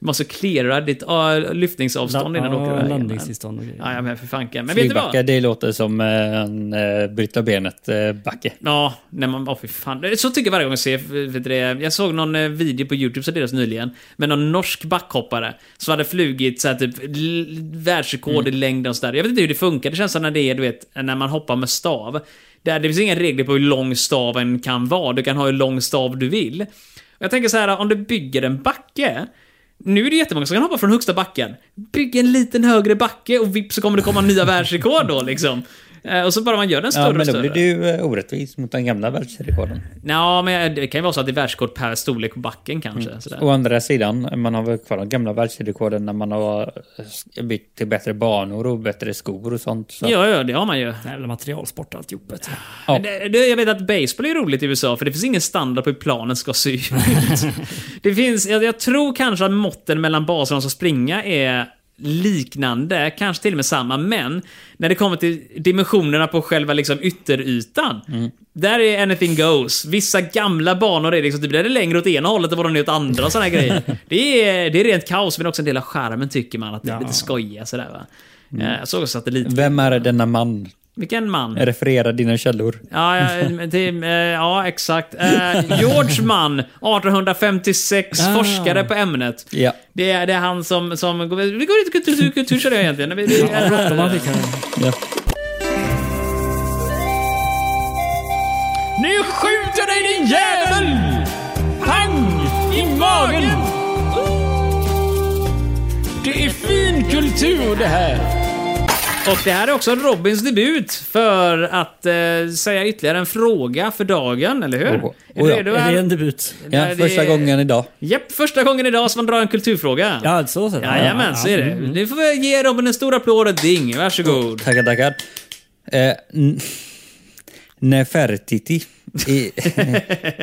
A: Du måste cleara ditt uh, lyftningsavstånd innan du åker
E: Ja,
A: iväg.
E: landningstillstånd och grejer.
A: Ja, ja men för fanken. Men vet du
B: Flygbacka,
A: vad?
B: det låter som eh, en eh, bryta eh, benet-backe.
A: Ja, när man... Åh, fy fan. Så tycker jag varje gång jag ser... För för det, jag såg någon eh, video på YouTube så deras nyligen, med någon norsk backhoppare som hade flugit så här, typ l- världsrekord
B: Mm.
A: i längd och sådär. Jag vet inte hur det funkar, det känns som när det är, du vet, när man hoppar med stav. Där det finns inga regler på hur lång staven kan vara, du kan ha hur lång stav du vill. Jag tänker så här, om du bygger en backe, nu är det jättemånga som kan hoppa från högsta backen. Bygg en liten högre backe och vips så kommer det komma nya världsrekord då liksom. Eh, Och så bara man gör den större
B: Ja, men
A: och
B: då
A: större.
B: blir du eh, orättvis mot den gamla världsrekorden.
A: Nå, men det kan ju vara så att det är världsrekord per storlek på backen kanske. Sådär.
B: Å andra sidan, man har väl kvar de gamla världsrekorden när man har eh, bytt till bättre banor och bättre skor och sånt. Så.
A: Ja, ja, det har man ju.
E: Jävla materialsport alltihop. vet du.
B: Ja.
A: Men Det, det, jag vet att baseball är roligt i USA, för det finns ingen standard på hur planen ska se
B: (laughs)
A: ut. det finns, jag, jag tror kanske att måtten mellan baser och de som springa är liknande, kanske till och med samma, men när det kommer till dimensionerna på själva liksom ytterytan,
B: Mm.
A: där är anything goes. Vissa gamla banor är liksom, typ, där är det längre åt ena hållet än vad de är åt andra och såna här grejer.
B: (laughs)
A: Det är, det är rent kaos, men också en del av skärmen tycker man, att det är lite skojiga sådär va. Eh, Jag såg också satellit...
B: Mm. Vem är denna man?
A: Vilken man?
B: Referera dina källor.
A: Ja, ja, men till, eh, ja exakt. Eh, George Mann, 1856,
E: Ah.
A: forskare på ämnet.
B: Ja.
A: Det är, det är han som... som vi går lite kultur, kultur, jag egentligen. Vi, vi,
B: Ja.
F: Nu skjuter jag dig din jävel! Pang! I magen! Det är fin kultur det här.
A: och det här är också Robins debut för att eh, säga ytterligare en fråga för dagen, eller hur?
B: Oh,
A: är
B: oh
A: du
B: ja.
A: redo?
E: Är det
A: Al?
E: en debut?
B: Ja,
A: Nej, det-
B: första gången idag.
A: Japp, första gången idag som man drar en kulturfråga.
E: Ja, så sett.
A: Jajamän, så är det. Nu får vi ge Robin en stor applåd och ding. Varsågod.
B: Tackar, tackar. Eh, n- Nefertiti.
A: (laughs)
B: I,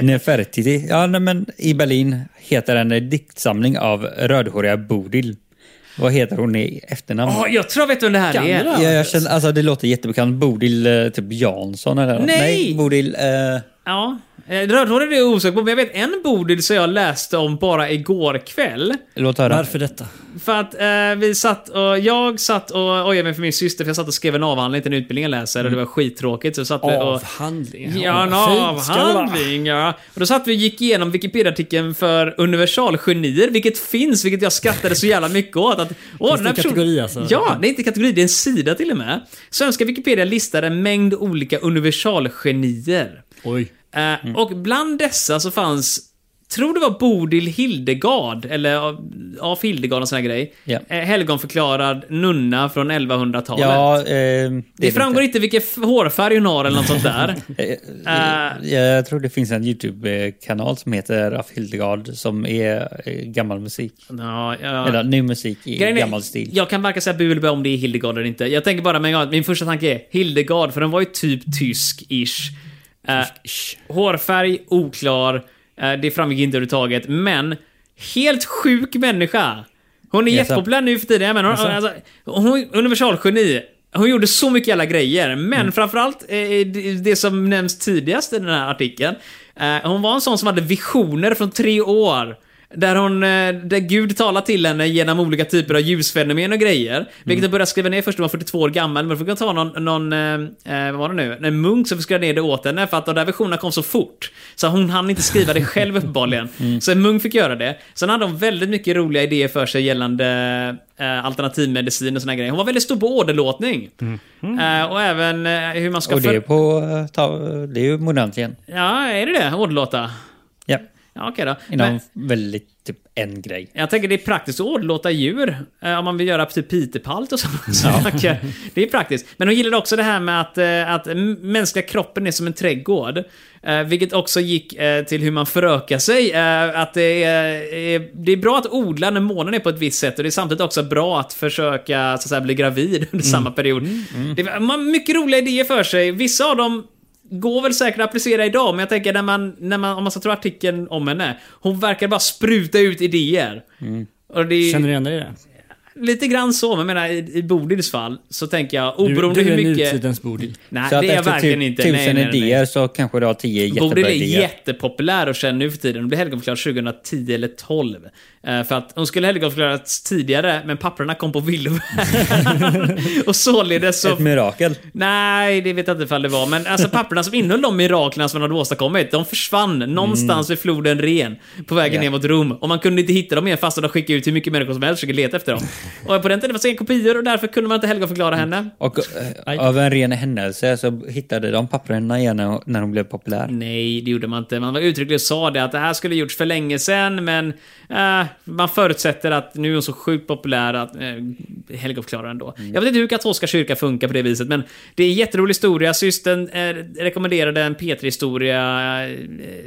B: Nefertiti. Ja, nej, men i Berlin heter en diktsamling av rödhåriga Bodil. Vad heter hon i efternamn?
A: Åh, jag tror jag vet vem det här är.
B: ja, jag känner, alltså, det låter jättebekant. Bodil eh, typ Jansson eller något.
A: Nej!
B: nej Bodil... Eh,
A: Ja. Eh, Rödhårig är jag osäker på, men jag vet en Bodil som jag läste om bara igår kväll.
B: låt höra.
E: Varför detta?
A: För att eh, vi satt och, jag satt och ojade mig för min syster för jag satt och skrev en avhandling till en utbildning jag läser och det var skittråkigt. Så jag satt och,
E: Avhandling.
A: Ja, en
E: Fint ska det vara.
A: avhandling ja. Och då satt vi och gick igenom Wikipedia-artikeln för universalgenier, vilket finns, vilket jag skrattade så jävla mycket åt. Att, åh,
E: Finns det en kategori, alltså?
A: Ja, det är inte kategori, det är en sida till och med. Svenska Wikipedia listar en mängd olika universalgenier.
E: Oj.
A: Eh,
E: Mm.
A: Och bland dessa så fanns, tror det var Bodil Hildegard, eller af Hildegard och sån här grej.
B: Ja.
A: Eh, Helgonförklarad nunna från 1100-talet.
B: Ja, eh, det, är
A: det framgår
B: inte.
A: inte vilken f- hårfärg hon har eller något sånt där.
E: (laughs)
B: Eh, jag tror det finns en YouTube-kanal som heter Af Hildegard som är eh, gammal musik.
A: Ja, ja.
B: Eller ny musik i
A: Grejen är,
B: gammal stil.
A: Jag kan varken säga bu eller bä om det är Hildegard eller inte. Jag tänker bara med en gång att min första tanke är Hildegard, för den var ju typ tysk-ish. Eh, hårfärg oklar, eh, det framgick inte överhuvudtaget, men helt sjuk människa. Hon är
B: Jaså?
A: jättepopulär nu för tiden, men hon, alltså, hon är universalgeni. Hon gjorde så mycket jävla grejer, men framförallt eh, det- det som nämns tidigast i den här artikeln. eh, Hon var en sån som hade visioner från tre år. Där, hon, eh, där Gud talar till henne genom olika typer av ljusfenomen och grejer. Vilket jag började skriva ner först när hon var 42 år gammal. Men då fick jag ta någon, någon eh, eh, vad var det nu? En munk som fick skriva ner det åt henne. För att de där visionerna kom så fort. Så hon hann inte skriva det själv
B: (laughs)
A: uppenbarligen.
B: Mm.
A: Så en munk fick göra det. Sen hade hon väldigt mycket roliga idéer för sig gällande eh, alternativmedicin och såna här grejer. Hon var väldigt stor på åderlåtning. Eh, och även eh, hur man ska...
B: Mm. Och det
A: för-
B: är på... eh, Ta, det är ju modernt igen.
A: Ja, är det det? Åderlåta?
B: Ja.
A: Ja, okej då.
B: Inom
A: Men
B: väldigt typ en grej.
A: jag tänker det är praktiskt att åderlåta djur. eh, Om man vill göra typ pitepalt (laughs) och sådana saker. Det är praktiskt. Men hon gillade också det här med att, eh, att m- mänskliga kroppen är som en trädgård. Eh, Vilket också gick eh, till hur man förökar sig. Eh, Att det är, är- det är bra att odla när månen är på ett visst sätt och det är samtidigt också bra att försöka så att säga, bli gravid under samma period. Det var man har mycket roliga idéer för sig. Vissa av dem Går väl säkert att applicera idag, men jag tänker när man, när man, om man ska tro artikeln om henne, hon verkar bara spruta ut idéer.
B: Mm.
A: Och det är
E: Känner du igen dig i det?
A: lite grann så, men jag menar i, i Bodils fall så tänker jag
E: Du,
A: oberoende
E: du är
A: hur mycket...
E: nutidens Bodil.
A: Nej,
B: Så att
A: det är jag
B: efter
A: verkligen
B: tu-
A: inte.
B: tusen
A: nej, nej, nej.
B: idéer så kanske du har tio
A: Bodil
B: jättebra
A: är
B: idéer.
A: jättepopulär och känd nu för tiden. Hon blev helgonförklarad 2010 eller 12. Eh, För att hon skulle helgonförklaras tidigare, men papperna kom på villovägar. (laughs) och således så
B: Ett mirakel.
A: Nej, det vet jag inte ifall det var. Men alltså papperna som innehöll de miraklerna som man hade åstadkommit, de försvann någonstans vid floden Ren på vägen
B: Ja.
A: ner mot Rom. Och man kunde inte hitta dem igen fast de skickade ut hur mycket människor som helst försökte leta efter dem. Och på den tiden fanns det inga kopior och därför kunde man inte helgonförklara henne.
B: Och eh, av en ren händelse så hittade de papperna igen när- när hon blev populär.
A: Nej, det gjorde man inte. Man var uttrycklig och sa det att det här skulle gjorts för länge sedan, men eh, man förutsätter att nu är hon så sjukt populär att eh, helgonförklarar ändå.
E: Mm.
A: Jag vet inte hur katolska kyrkan funkar på det viset, men det är en jätterolig historia. Systern eh, rekommenderade en P3-historia, eh,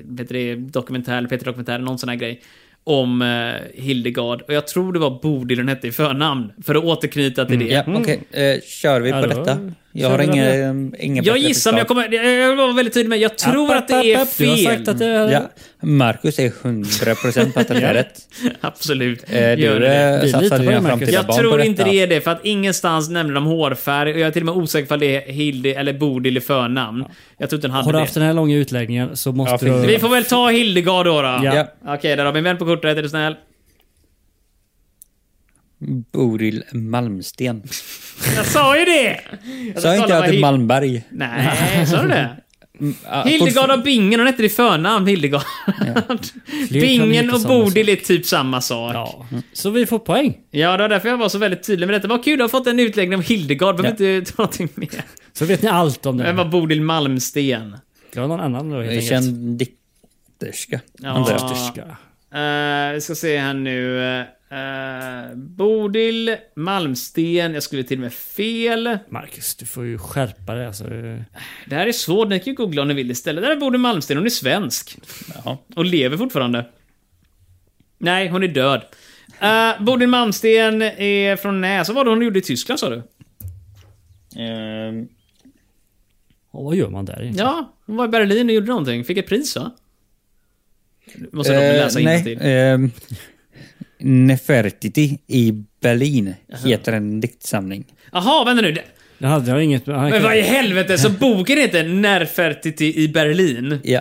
A: P3 dokumentär, eller P3 dokumentär, någon sån här grej om eh, Hildegard. Och jag tror det var Bodil hon hette i förnamn, för att återknyta
E: Mm.
A: till det. Mm.
B: Ja, okej. Eh, kör vi på
E: Ja, då
B: detta? Jag
E: kör
B: har
E: vi på
B: inga,
E: det.
B: eh, inga
A: Jag
B: bättre
A: gissar, men jag
B: förslag.
A: kommer... Jag var väldigt tydlig med, jag tror att det är fel.
E: Du har sagt att det är...
B: Ja, Marcus är 100% på att det är rätt.
A: (laughs) Absolut.
B: Eh,
A: Gör
B: Du
A: det.
B: eh,
E: Vi litar
B: satsar
E: på dig,
B: dina
E: Marcus.
B: framtida
A: Jag
B: barn på
A: tror inte
B: detta.
A: det är det, för att ingenstans nämner de hårfärg. Och jag är till och med osäker på om det är Hildi eller Bodil i förnamn. Jag tror inte han
E: Har
A: hade
E: du
A: det.
E: haft den här långa utläggningen så
B: Ja,
E: måste
B: finns
E: du...
B: det.
A: Vi får väl ta Hildegard då. då.
E: Ja.
A: Okej, där har vi en vän på kortet. Är du
B: (laughs)
A: snäll?
B: Boril Malmsten.
A: Jag sa ju det! Jag
B: Sa inte
A: kolla
B: jag
A: vad
B: att det är
A: Hil-
B: Malmberg?
A: Nej, sa du det?
B: Ah,
A: (laughs) Hildegard och Bingen, hon hette det i förnamn, Hildegard. (laughs) Bingen
E: inte
A: och
E: samma
A: Bodil är typ samma sak. Ja.
E: Ja. Så vi får poäng.
A: det var därför jag var så väldigt tydlig med detta. Vad kul, du har fått en utläggning om Hildegard. Behöver inte ta någonting mer.
E: Så vet ni allt om
A: Det
E: det.
A: var Bodil Malmsten.
E: Jag har någon annan då helt
B: fortfarande
E: enkelt.
B: Känd dikterska. antar jag.
E: Österska.
A: Eh, vi ska se här nu. Eh, Bodil Malmsten. Jag skulle till och med fel.
E: Marcus, du får ju skärpa dig alltså.
A: Det här är svårt. Ni kan ju googla om ni vill istället. Där är Bodil Malmsten. Hon är svensk. Och lever fortfarande. Nej, hon är död. Eh, Bodil Malmsten är från Näs. Vad var det hon gjorde i Tyskland sa du?
B: Ehm,
E: Och vad gör man där egentligen?
A: Ja, hon var i Berlin och gjorde någonting. Fick ett pris va? Nu Måste
B: eh,
A: Robin läsa
B: nej,
A: innantill.
B: ehm, Nefertiti i Berlin heter en diktsamling.
A: Jaha, vänta nu. Det-
E: Det hade jag inget... Han
A: Men vad i helvete, så boken heter Nerfertiti i Berlin?
B: Ja.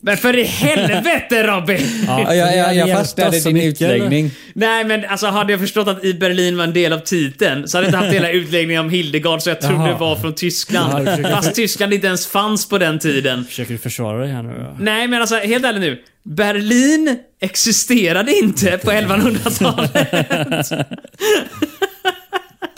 A: Men för i helvete Robin!
E: (laughs)
B: Ja, jag, jag, jag fastnade din utläggning.
A: Nej men alltså hade jag förstått att i Berlin var en del av titeln så hade jag inte haft hela utläggningen om Hildegard så jag trodde
E: Jaha.
A: det var från
E: Ja,
A: Tyskland.
E: du försöker-
A: Fast Tyskland inte ens fanns på den tiden.
E: Försöker du försvara dig här nu? då?
A: Nej men alltså helt ärligt nu. Berlin existerade inte på 1100-talet. (laughs)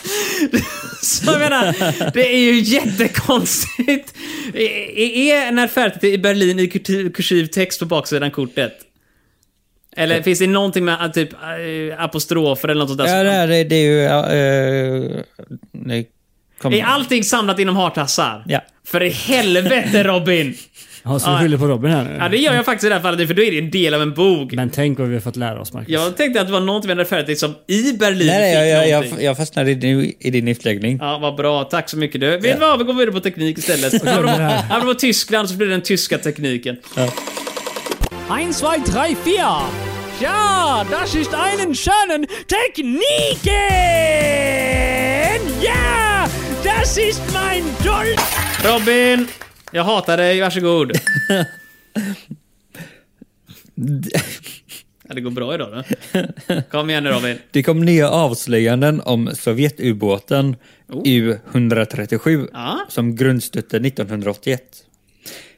A: Så jag menar, det är ju jättekonstigt. Är- Är Nerfertiti i Berlin i kurti- kursiv text på baksidan kortet? Eller finns det någonting med ah, typ eh, apostrofer eller något sånt där?
B: Ja,
A: som-
B: det, här är- det är ju... eh, det kom-
A: Är allting samlat inom hartassar?
B: Ja.
A: För i helvete Robin!
E: Ja, så du
A: Ja.
E: skyller på Robin här nu?
A: Ja, det gör jag faktiskt i det här fallet, för då är det en del av en bok.
E: Men tänk vad vi har fått lära oss Marcus.
A: Jag tänkte att det var någonting med Nerfertiti som i Berlin
B: Nej, nej, jag,
A: fick
B: jag,
A: någonting.
B: jag, jag fastnade i din, i din utläggning.
A: Ja, vad bra. Tack så mycket du. Vet du vad? Vi går vidare på teknik istället. (laughs) Apropå Tyskland så blir det den tyska tekniken.
F: Eins, zwei, drei, vier. Ja, das ist einen schönen Techniken. Ja, das ist mein Dolch.
A: Robin! Jag hatar dig, varsågod. ja, det går bra idag då. Kom igen nu Robin.
B: Det kom nya avslöjanden om Sovjetubåten U-137
A: Ja.
B: som grundstötte 1981.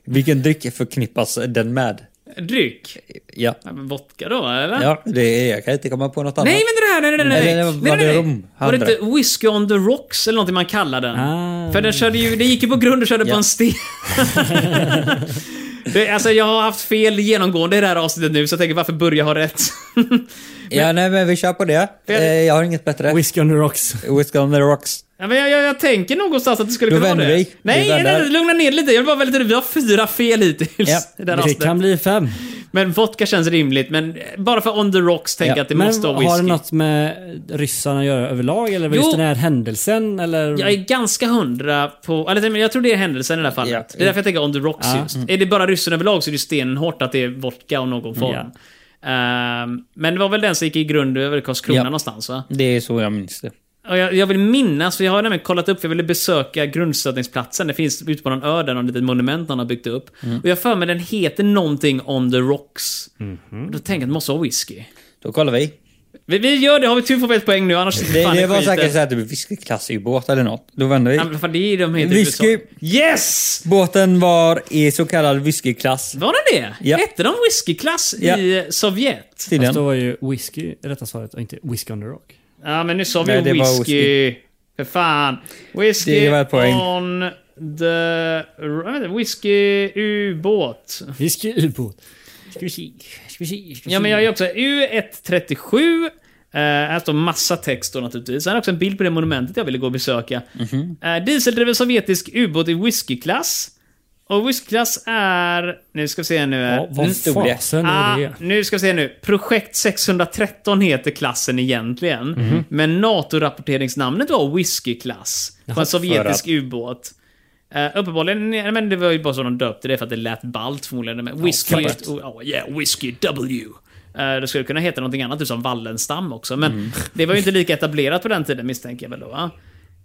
B: Vilken dryck förknippas den med?
A: Dryck?
B: Ja,
A: Ja, men vodka då, eller?
B: ja det är, jag kan inte komma på något annat.
A: Nej, men det här, nej, nej, nej. nej,
B: Eller var
A: nej,
B: det
A: nej, nej.
B: rom?
A: Var det
B: Andra.
A: inte Whiskey on the Rocks eller någonting man kallar den? För den körde ju, det gick ju på grund och körde på
B: Ja.
A: en sten. Det, alltså, jag har haft fel genomgående i det här avsnittet nu, så jag tänker varför börja ha rätt? (laughs)
B: Ja, nej, men vi kör på det. Eh, jag har inget bättre.
E: Whiskey on the rocks.
B: Whisk on the rocks.
A: ja, men jag, jag, jag tänker någonstans att det skulle
B: Då
A: kunna vara
B: vänder
A: det.
B: vi. Vi
A: Nej,
B: vänder.
A: nej, lugna ner lite. Jag vill bara väldigt Vi har fyra fel hittills
B: Ja,
A: i det här
E: Det
A: avsnittet.
E: kan bli fem.
A: Men vodka känns rimligt, men bara för on the rocks tänker jag
B: Ja,
A: att det
E: Men
A: måste vara
E: har det
A: whisky.
E: något med ryssarna att göra överlag? Eller var
A: Jo.
E: just den här händelsen? Eller?
B: Mm.
A: Jag är ganska hundra på... Eller men jag tror det är händelsen i det här fallet.
B: Ja.
A: Det är därför jag tänker on the rocks
E: Ja.
A: just. Är det bara ryssen överlag så är det stenhårt att det är vodka av någon form.
E: Ja.
A: Ehm, men det var väl den som gick i grund över Karlskrona
B: Ja.
A: någonstans va?
B: Det är så jag minns det.
A: Och jag, jag vill minnas, för jag har nämligen kollat upp, för jag ville besöka grundstötningsplatsen. Det finns ute på någon ö där, något litet monument någon har byggt upp.
B: Mm.
A: Och jag har för mig den heter någonting on the rocks.
B: Mhm.
A: Och då tänker jag att det måste vara whisky.
B: Då kollar vi.
A: Vi, vi gör det, har vi tur får vi ett poäng nu, annars sitter
B: Det,
A: fan i
B: det var
A: skiten.
B: säkert så här typ whiskyklassibåt eller något. Då vänder
A: Ja,
B: vi.
A: men fan, det är ju de heter i
B: Whisky.
A: USA. Yes!
B: Båten var i så kallad whiskyklass.
A: Var det det?
B: Ja.
A: Hette de whiskyklass
B: Ja.
A: i Sovjet?
E: Fast då
B: Tydligen.
E: var ju whisky rätta svaret och inte whisky on the rock.
A: Ja, men nu sa vi
B: Nej,
A: ju
B: det var
A: whisky. För fan. Whisky
B: Det var ett poäng.
A: on the... vänta, Whisky ubåt.
E: Whisky ubåt.
A: Ja, men jag gör också U137. Eh, här står massa text då naturligtvis. Sen har jag också en bild på det monumentet jag ville gå och besöka.
B: Mhm.
A: Eh, dieseldriven sovjetisk ubåt i whiskyklass. Och whiskyklass är... Nu ska vi se nu. här.
E: Ja, vad
B: stod det.
E: fasen
A: Ah,
E: är det?
A: nu ska vi se nu. Projekt 613 heter klassen egentligen.
E: Mhm.
A: Men NATO-rapporteringsnamnet var whiskyklass. På en sovjetisk ubåt. Uh, uppenbarligen, nej, men det var ju bara så de döpte det för att det lät ballt förmodligen. Men whisky, oh, oh, yeah, whisky W. Uh, det skulle kunna heta någonting annat, typ som Wallenstam också. Men
E: Mm.
A: (laughs) det var ju inte lika etablerat på den tiden misstänker jag väl då. va?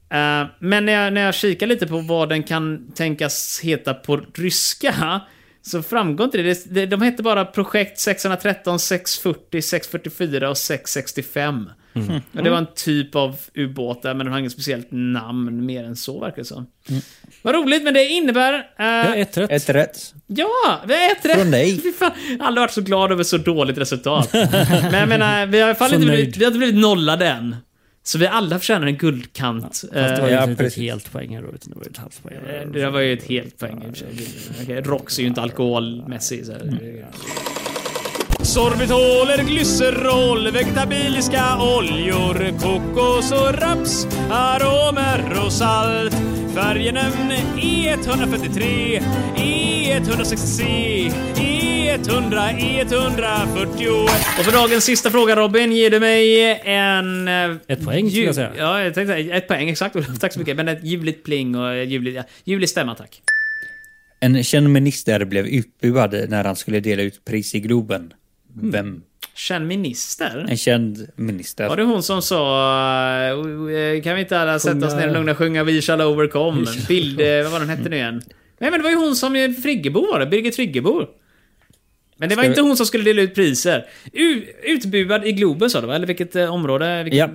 A: Eh, men när jag, när jag kikar lite på vad den kan tänkas heta på ryska så framgår inte det. det. det- De hette bara Projekt 613, 640, 644 och 665.
E: Mm.
A: Och det var en typ av ubåt där, men den har inget speciellt namn mer än så verkar det som. Vad roligt, men det innebär... eh,
E: Jag Mm. är ett rätt.
B: Ett rätt.
A: Ja, vi har ett rätt.
B: Från dig.
A: (laughs) Fy fan, jag har aldrig varit så glad över så dåligt
E: (laughs)
A: resultat. Men jag menar, vi har i alla fall
E: Så
A: inte blivit,
E: nöjd.
A: vi har inte blivit nollade än. Så vi alla förtjänar en guldkant.
E: Fast det
A: Eh,
E: var ju
B: Ja,
E: inte ett
B: precis.
E: helt poäng här då, utan det var ju ett halvt poäng.
A: det där var ju ett helt poäng i och för sig. Okej, Rox är ju inte alkoholmässig. Så här.
E: Mm.
A: Sorbitoler, glycerol, vegetabiliska oljor, kokos och raps, aromer och salt. Färgenämn E E143, E E160, E E100, E141. Och för dagens sista fråga Robin, ger du mig en... eh,
E: Ett poäng, skulle jag säga.
A: Ja, jag tänkte säga ett poäng, exakt. (laughs) Olof. Tack så mycket. Men ett ljuvligt pling och ett ljuvligt, ja, ljuvlig stämma, tack.
B: En känd minister blev utbuad när han skulle dela ut pris i Globen.
A: Mm.
B: Vem?
A: Känd minister?
B: En känd minister.
A: Var det hon som sa eh, eh, Kan vi inte alla sätta oss ner och lugna och sjunga We shall overcome? Bild, eh, vad var den hette nu igen? Nej men det var ju hon som eh, Friggebo var det, Birgit Friggebo. Men det var
B: Ska
A: inte
B: vi-
A: hon som skulle dela ut priser. U- utbuad i Globen sa du va? Eller vilket eh, område? Vilket...
B: Ja.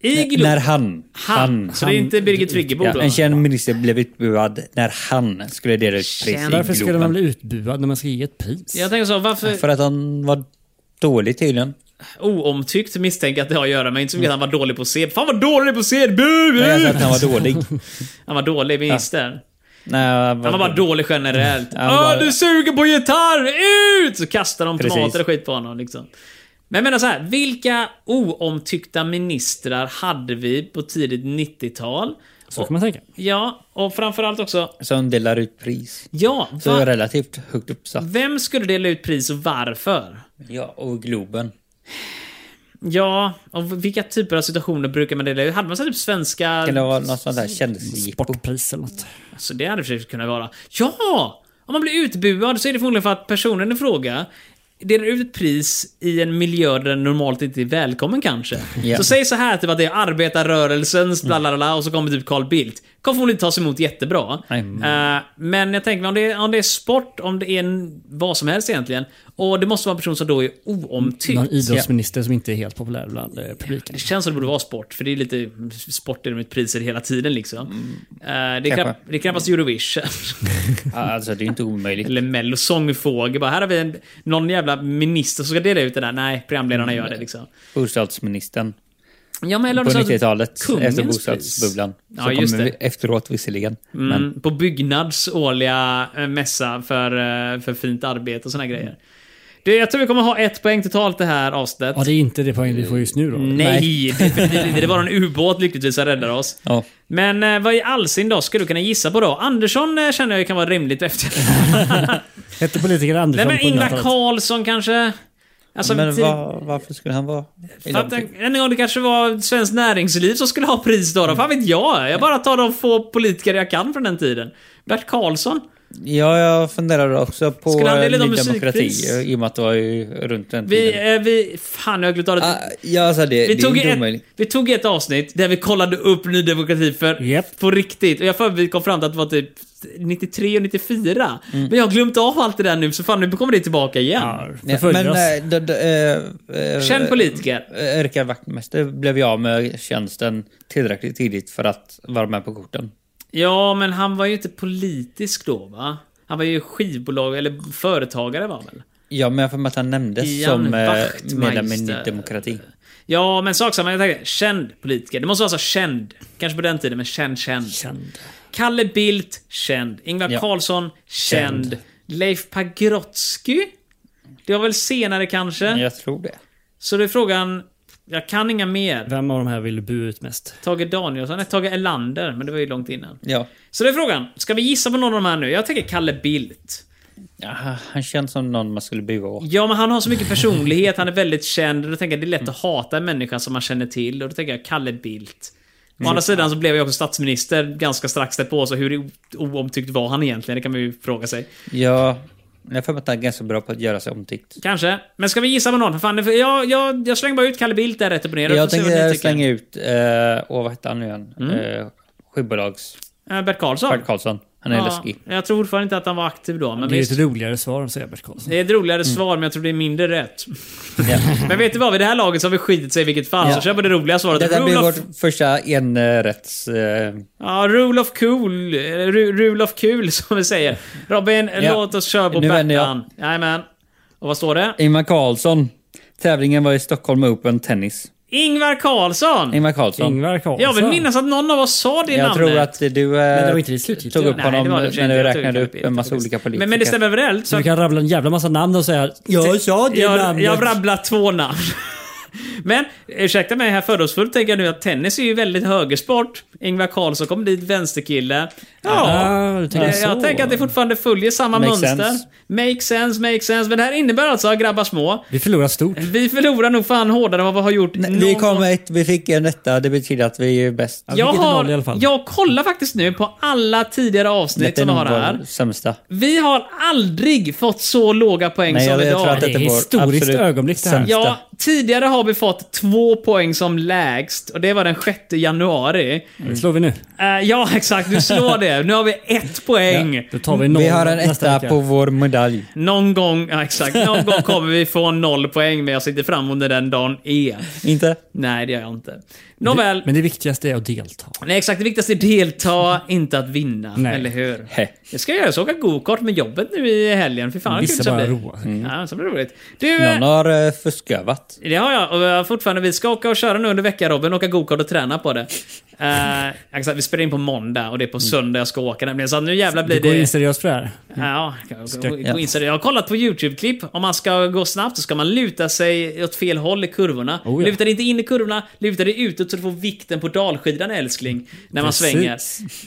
A: I
B: N-
A: Globen?
B: När han.
A: Han. Så det är inte Birgit Friggebo
B: Ja,
A: då?
B: en känd minister blev utbuad när han skulle dela ut pris
A: Känd.
B: i
E: Varför skulle man
B: Globen.
E: bli utbuad när man ska ge ett pris?
A: Jag tänker så, varför
B: För att han var dålig tydligen.
A: oomtyckt misstänker jag att det har att göra med, inte så mycket att han var dålig på scen. Fan vad dålig på scen! Bu, bu!
B: Nej, jag sa att han
A: (laughs)
B: var dålig.
A: Han var dålig minister.
B: Nej, han
A: Han var bara dålig generellt.
B: Han var
A: Åh,
B: bara-
A: du suger på gitarr! Ut! Så kastar de
B: Precis.
A: tomater och skit på honom. Liksom. Men jag menar så här, vilka oomtyckta ministrar hade vi på tidigt 90-tal?
E: Så kan man tänka.
A: Ja, och framförallt också...
B: Som delar ut pris.
A: Ja,
B: Så
A: va,
B: relativt högt uppsatt.
A: vem skulle dela ut pris och varför?
B: Ja, och Globen.
A: Ja, och vilka typer av situationer brukar man dela ut? Hade man så här typ svenska...
B: Kan det vara något sånt där kändisjippo?
E: Sportpris eller något.
A: Så Alltså, det hade försökt kunna vara. Ja! Om man blir utbuad så är det förmodligen för att personen i fråga delar ut ett pris i en miljö där den normalt inte är välkommen kanske.
B: Ja.
A: Så säg så här typ att det är arbetarrörelsens bla bla bla och så kommer typ Carl Bildt. Kommer förmodligen tas emot jättebra.
B: Nej.
A: Eh, men jag tänker mig om det, är, om det är sport, om det är en, vad som helst egentligen. Och det måste vara en person som då är oomtyckt.
E: Någon
B: Mm.
E: idrottsminister som inte är helt populär bland eh, publiken.
A: Det känns som det borde vara sport, för det är lite sport i de priser hela tiden liksom. Eh, det, är
B: Mm. Kanske.
A: knapp, det är knappast
B: (laughs)
A: Eurovision.
B: Alltså det är inte omöjligt.
A: Eller Mello sångfågel. Bara, här har vi en, någon jävla minister som ska dela ut det där. Nej, programledarna gör det liksom.
B: Bostadsministern.
A: Ja, men eller
B: På
A: något sånt-
B: 90-talet,
A: Kungens
B: efter
A: pris.
B: bostadsbubblan.
A: Ja,
B: så
A: just
B: kommer vi
A: det.
B: efteråt visserligen. Men
A: Mm, på Byggnads årliga eh, mässa för, eh, för fint arbete och såna här
B: Mm.
A: grejer. Du, jag tror vi kommer ha ett poäng totalt det här avsnittet.
E: Ja, det är inte det poäng vi får just nu då.
A: Nej, definitivt inte. Det var en ubåt lyckligtvis som räddade oss.
B: Ja.
A: Men eh, vad i all sin dag skulle du kunna gissa på då? Andersson eh, känner jag ju kan vara rimligt efter.
E: Hette politiker
A: Nej
E: Andersson
A: men
E: på
A: Ingvar
E: 100-talet?
A: Carlsson kanske? Alltså,
B: men
A: tid-
B: va, varför skulle han vara... i
A: För att
B: de-
A: en en gång det kanske var Svenskt Näringsliv som skulle ha pris då. då. Fan vet jag? Jag bara tar de få politiker jag kan från den tiden. Bert Karlsson?
B: Ja, jag funderar också på
A: Skulle han dela
B: eh,
A: ut
B: Ny
A: något
B: Demokrati
A: musikpris?
B: eh, i och med att det var ju runt den
A: Vi,
B: tiden.
A: eh, vi... Fan, jag har glömt av det.
B: Ah, ja, alltså det,
A: Vi
B: det är
A: tog,
B: inte
A: ett,
B: omöjligt.
A: vi tog ett avsnitt där vi kollade upp Ny Demokrati för
E: Japp.
A: på riktigt. Och jag för vi kom fram till att det var typ 93 och 94.
B: Mm.
A: Men jag har glömt av allt det där nu, så fan nu kommer det tillbaka igen.
E: Ja,
B: Ja,
E: förföljer
B: men
E: oss.
B: eh, d- d- eh, eh,
A: Känd politiker.
B: eh, Erika Wachtmeister blev jag med tjänsten tillräckligt tidigt för att vara med på korten.
A: Ja, men han var ju inte politisk då, va? Han var ju skivbolag, eller företagare var han väl?
B: Ja, men jag får med att han nämndes
A: Ian
B: som eh,
A: Wachtmeister.
B: medlem i Ny Demokrati.
A: Ja, men sak samma. Jag tänkte, känd politiker. Det måste vara så känd. Kanske på den tiden, men känd, känd.
E: Känd.
A: Kalle Bildt, känd. Ingvar
B: Ja.
A: Carlsson, känd.
B: Känd.
A: Leif Pagrotsky? Det var väl senare kanske?
B: Jag tror det.
A: Så då är frågan... Jag kan inga mer.
E: Vem av de här vill du bu ut mest?
A: Tage Danielsson? Nej, Tage Erlander. Men det var ju långt innan.
B: Ja.
A: Så det är frågan. Ska vi gissa på någon av de här nu? Jag tänker Kalle Bildt.
B: Ja, Han känns som någon man skulle bua åt.
A: Ja, men han har så
B: (laughs)
A: mycket personlighet. Han är väldigt känd. Och då tänker jag det är lätt att hata en människa som man känner till. Och då tänker jag Kalle Bildt. Å andra sidan så blev jag också statsminister ganska strax därpå, så hur o- oomtyckt var han egentligen? Det kan man ju fråga sig.
B: Ja, jag får med att han är ganska bra på att göra sig omtyckt.
A: Kanske. Men ska vi gissa på någon? För fan, det- jag, jag, jag slänger bara ut Kalle Bildt där rätt upp och ner.
B: Jag
A: Får se vad ni
B: tänker
A: tycker.
B: slänga ut, eh, åh vad hette han nu igen? Eh, Skivbolags...
A: Eh, Bert Karlsson.
B: Bert Karlsson. Han är
A: Mm. Ja,
B: läskig.
A: Jag tror fortfarande inte att han var aktiv då, men
E: Det är
A: visst.
E: ett roligare svar än Sebert Karlsson.
A: Det är ett roligare
B: Mm.
A: svar, men jag tror det är mindre rätt. (laughs) men vet du vad? Vid det här laget så har vi skitit sig i vilket fall, så
B: Ja.
A: kör på det roliga svaret.
B: Detta
A: Rule
B: blir
A: of-
B: vårt första enrätts... Eh,
A: Ja, rule of cool. eh, Ru, rule of cool, (laughs) som vi säger. Robin,
B: Ja.
A: låt oss köra på
B: Nu vänder jag.
A: Bertan. Jajamän. Och vad står det?
B: Ingmar Karlsson. Tävlingen var i Stockholm Open Tennis.
A: Ingvar Karlsson!
B: Ingmar Karlsson.
E: Ingvar Karlsson.
A: Jag vill minnas att någon av oss sa det
B: jag
A: namnet.
B: tror att du eh,
E: det var inte det slutgiltiga.
B: tog upp
A: Nej, det
B: honom
A: var det i och för sig
B: när
A: inte.
B: du
A: Jag tror
B: räknade
A: Kalle
B: upp en
A: Bildt,
B: massa
A: faktiskt.
B: olika politiker.
A: Men, men det stämmer överallt. Så
E: Du
A: att
E: kan rabbla en jävla massa namn och säga Jag sa det
A: jag,
E: namnet.
A: jag rabblar två namn. (laughs) Men ursäkta mig här fördomsfullt tänker jag nu att tennis är ju väldigt högersport. Ingvar Karlsson kom dit vänsterkille. Ja,
E: Ah, du tänker
A: Eh,
E: så.
A: jag tänker att det fortfarande följer samma
B: Alltså. Makes
A: mönster.
B: sense.
A: Make sense, make sense. Men det här innebär alltså, grabbar små,
E: Vi förlorar stort.
A: vi förlorar nog fan hårdare än vad vi har gjort
B: Nej,
A: någon-
B: Vi kom ett, vi fick en etta. Det betyder att vi är bäst.
A: jag,
E: vilket är
A: har,
E: noll i alla fall.
A: jag kollar faktiskt nu på alla tidigare avsnitt
B: Detta är
A: som vi
B: nog
A: har här.
B: vår sämsta.
A: Vi har aldrig fått så låga poäng
B: Nej,
A: som
B: jag,
A: idag.
B: jag tror att
E: Det är
B: detta är
E: ett
B: vår
E: historiskt
B: absolut
E: ögonblick det här.
B: sämsta.
A: Ja, tidigare har vi fått två poäng som lägst och det var den 6 januari.
B: Mm.
E: Det slår vi nu.
A: Eh, ja, (laughs) exakt. Du slår det. Nu har vi ett poäng.
E: Då tar Mm. vi noll
B: Vi har en
E: nästa
B: etta
E: vecka.
B: på vår medalj.
A: Någon gång, ja, exakt. Någon gång kommer vi få noll poäng, men jag sitter fram emot när den dagen är.
B: Inte?
A: Nej, det gör jag inte. Nåväl.
E: Men det viktigaste är att delta.
A: Nej, exakt. Det viktigaste är delta, inte att vinna.
E: Nej.
A: Eller hur?
B: Heh.
A: Det ska jag göra. Jag ska åka gokart med jobbet nu i helgen. Fy fan vad kul det
E: Vissa
A: ska
E: bara
A: bli.
E: roar Mm. sig.
A: Ja, så blir det roligt. Du, eh,
B: Någon har eh, fuskövat.
A: Det har jag. Och jag har fortfarande, vi ska åka och köra nu under veckan Robin, åka gokart och träna på det. Eh, exakt, vi spelar in på måndag och det är på söndag jag ska åka nämligen. Så att nu jävlar blir
E: Du Mm. går
A: det...
E: in seriöst för det här.
A: Ja, gå- gå in seriöst. jag har kollat på YouTube-klipp. Om man ska gå snabbt så ska man luta sig åt fel håll i kurvorna.
E: Oh, ja.
A: Luta dig inte in i kurvorna, luta dig utåt så du får vikten på dalskidan älskling. När man
E: Precis.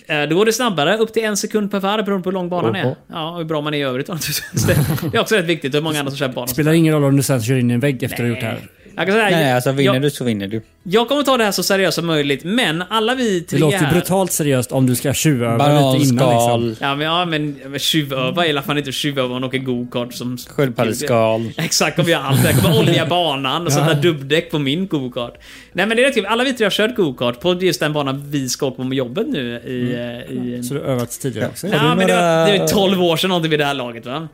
A: svänger. Eh, Då går det snabbare, upp till en sekund per varv beroende på hur lång banan är.
B: Oho.
A: Ja, och hur bra man är i övrigt. (laughs) naturligtvis. Det- Det är också rätt viktigt, hur många andra som kör banan.
E: Spelar ingen roll om du sen kör in i en vägg efter att du har gjort det här.
A: Jag kan säga,
B: Nej, alltså vinner
A: jag,
B: du så vinner du.
A: jag kommer ta det här så seriöst som möjligt, men alla vi
E: Det
A: tre
E: låter ju
A: här...
E: brutalt seriöst om du ska tjuvöva lite innan
B: Bananskal,
E: liksom.
A: Ja men, ja, men men tjuvöva är i alla fall inte tjuvöva om man åker gokart som...
B: sköldpaddeskal.
A: Exakt, kommer göra allt. Jag kommer olja banan
E: (laughs)
A: och sätta dubbdäck på min gokart. Nej men det är rätt kul. Alla vi tre har kört gokart på just den banan vi ska åka på med jobbet nu i... eh, i
E: Mm. Så du har övats tidigare också.
A: ja, men det,
B: några-
A: var, det är 12 år sedan någonting vid det här laget va?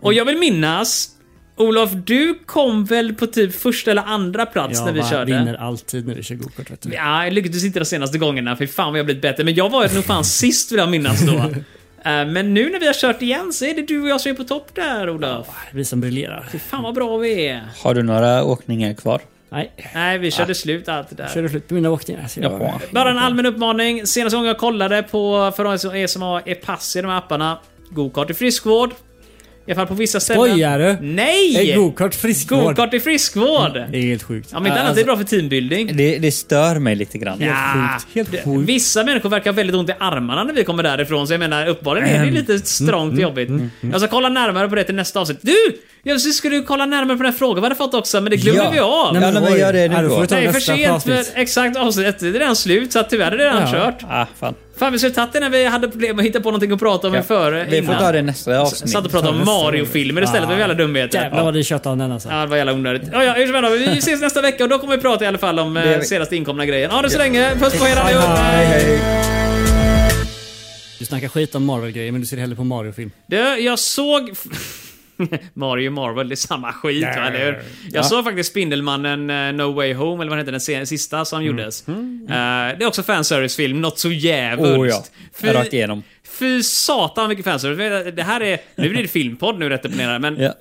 A: Och jag vill minnas... Olof, du kom väl på typ första eller andra plats när vi
E: va-
A: körde?
E: vinner alltid när vi kör gokart vet du.
A: Ja, jag lyckades inte de senaste gångerna. För fan vad jag blivit bättre. Men jag var nog
E: (laughs)
A: fan sist vill jag minnas då. Eh, Men nu när vi har kört igen så är det du och jag som är på topp där Olof.
E: Vi som briljerar.
A: Fy fan vad bra vi är.
B: Har du några åkningar kvar?
E: Nej,
A: Nej, vi körde slut allt det där.
E: körde slut på mina åkningar. Alltså, jag,
B: Ja.
A: Bara en allmän uppmaning. Senaste gången jag kollade på, för de som, är som har e-pass i de här apparna, gokart i friskvård. I alla fall på vissa ställen.
E: Skojar du?
A: Nej!
E: Är Mm. gokart friskvård?
A: Gokart i friskvård!
E: Det är helt sjukt.
A: Ja, men inte annat det är bra för teambuilding.
B: Det, det stör mig lite grann.
A: Ja,
E: sjukt, helt
A: det-
E: sjukt.
A: vissa människor verkar ha väldigt ont i armarna när vi kommer därifrån, så jag menar uppenbarligen
E: Mm.
A: är det ju lite strångt och jobbigt. Jag ska kolla närmare på det till nästa avsnitt. Du! Jag skulle kolla närmare på den här frågan vi hade fått också, men det glömde vi av.
B: Nej, men, ja,
E: det
B: nej,
E: var
B: men
E: ju-
B: gör det
E: Ja, då
B: nu
E: får
B: då.
E: vi ta-
A: Nej, för
E: nästa
A: sent
E: avsnitt.
A: för exakt avsnitt. Det är redan slut, så att tyvärr är det redan
E: Ja.
A: kört.
B: Ah, fan.
A: Fan, vi skulle tagit det när vi hade problem med att hitta på någonting att prata om
B: Ja.
A: före.
B: Vi får
A: innan.
B: ta det i nästa avsnitt.
A: Satt och pratade om Mario-filmer istället, det var jävla dumheter.
E: Jävlar vad det tjötade om den alltså.
A: Ja, det var jävla onödigt. Ja, ja, hur som helst, vi ses nästa vecka och då kommer vi prata i alla fall om eh,
B: Det-
A: senaste inkomna grejen. Ha det så länge, puss på er allihop!
E: Hej,
A: Hej.
E: Du snackar skit om Marvel-grejer men du ser hellre på Mario-film.
A: Du, jag såg... (laughs) Mario Marvel, det är samma skit, va, eller hur? Jag såg faktiskt Spindelmannen eh, No Way Home, eller vad hette den se- sista som gjordes. Eh, det är också fanservice-film, något så jävligt.
B: Mm. Oh, ja. Rakt igenom.
A: Fy satan vilken fanservice. Det här är... Nu blir det filmpodd nu rätt upp och ner, men
B: Ja.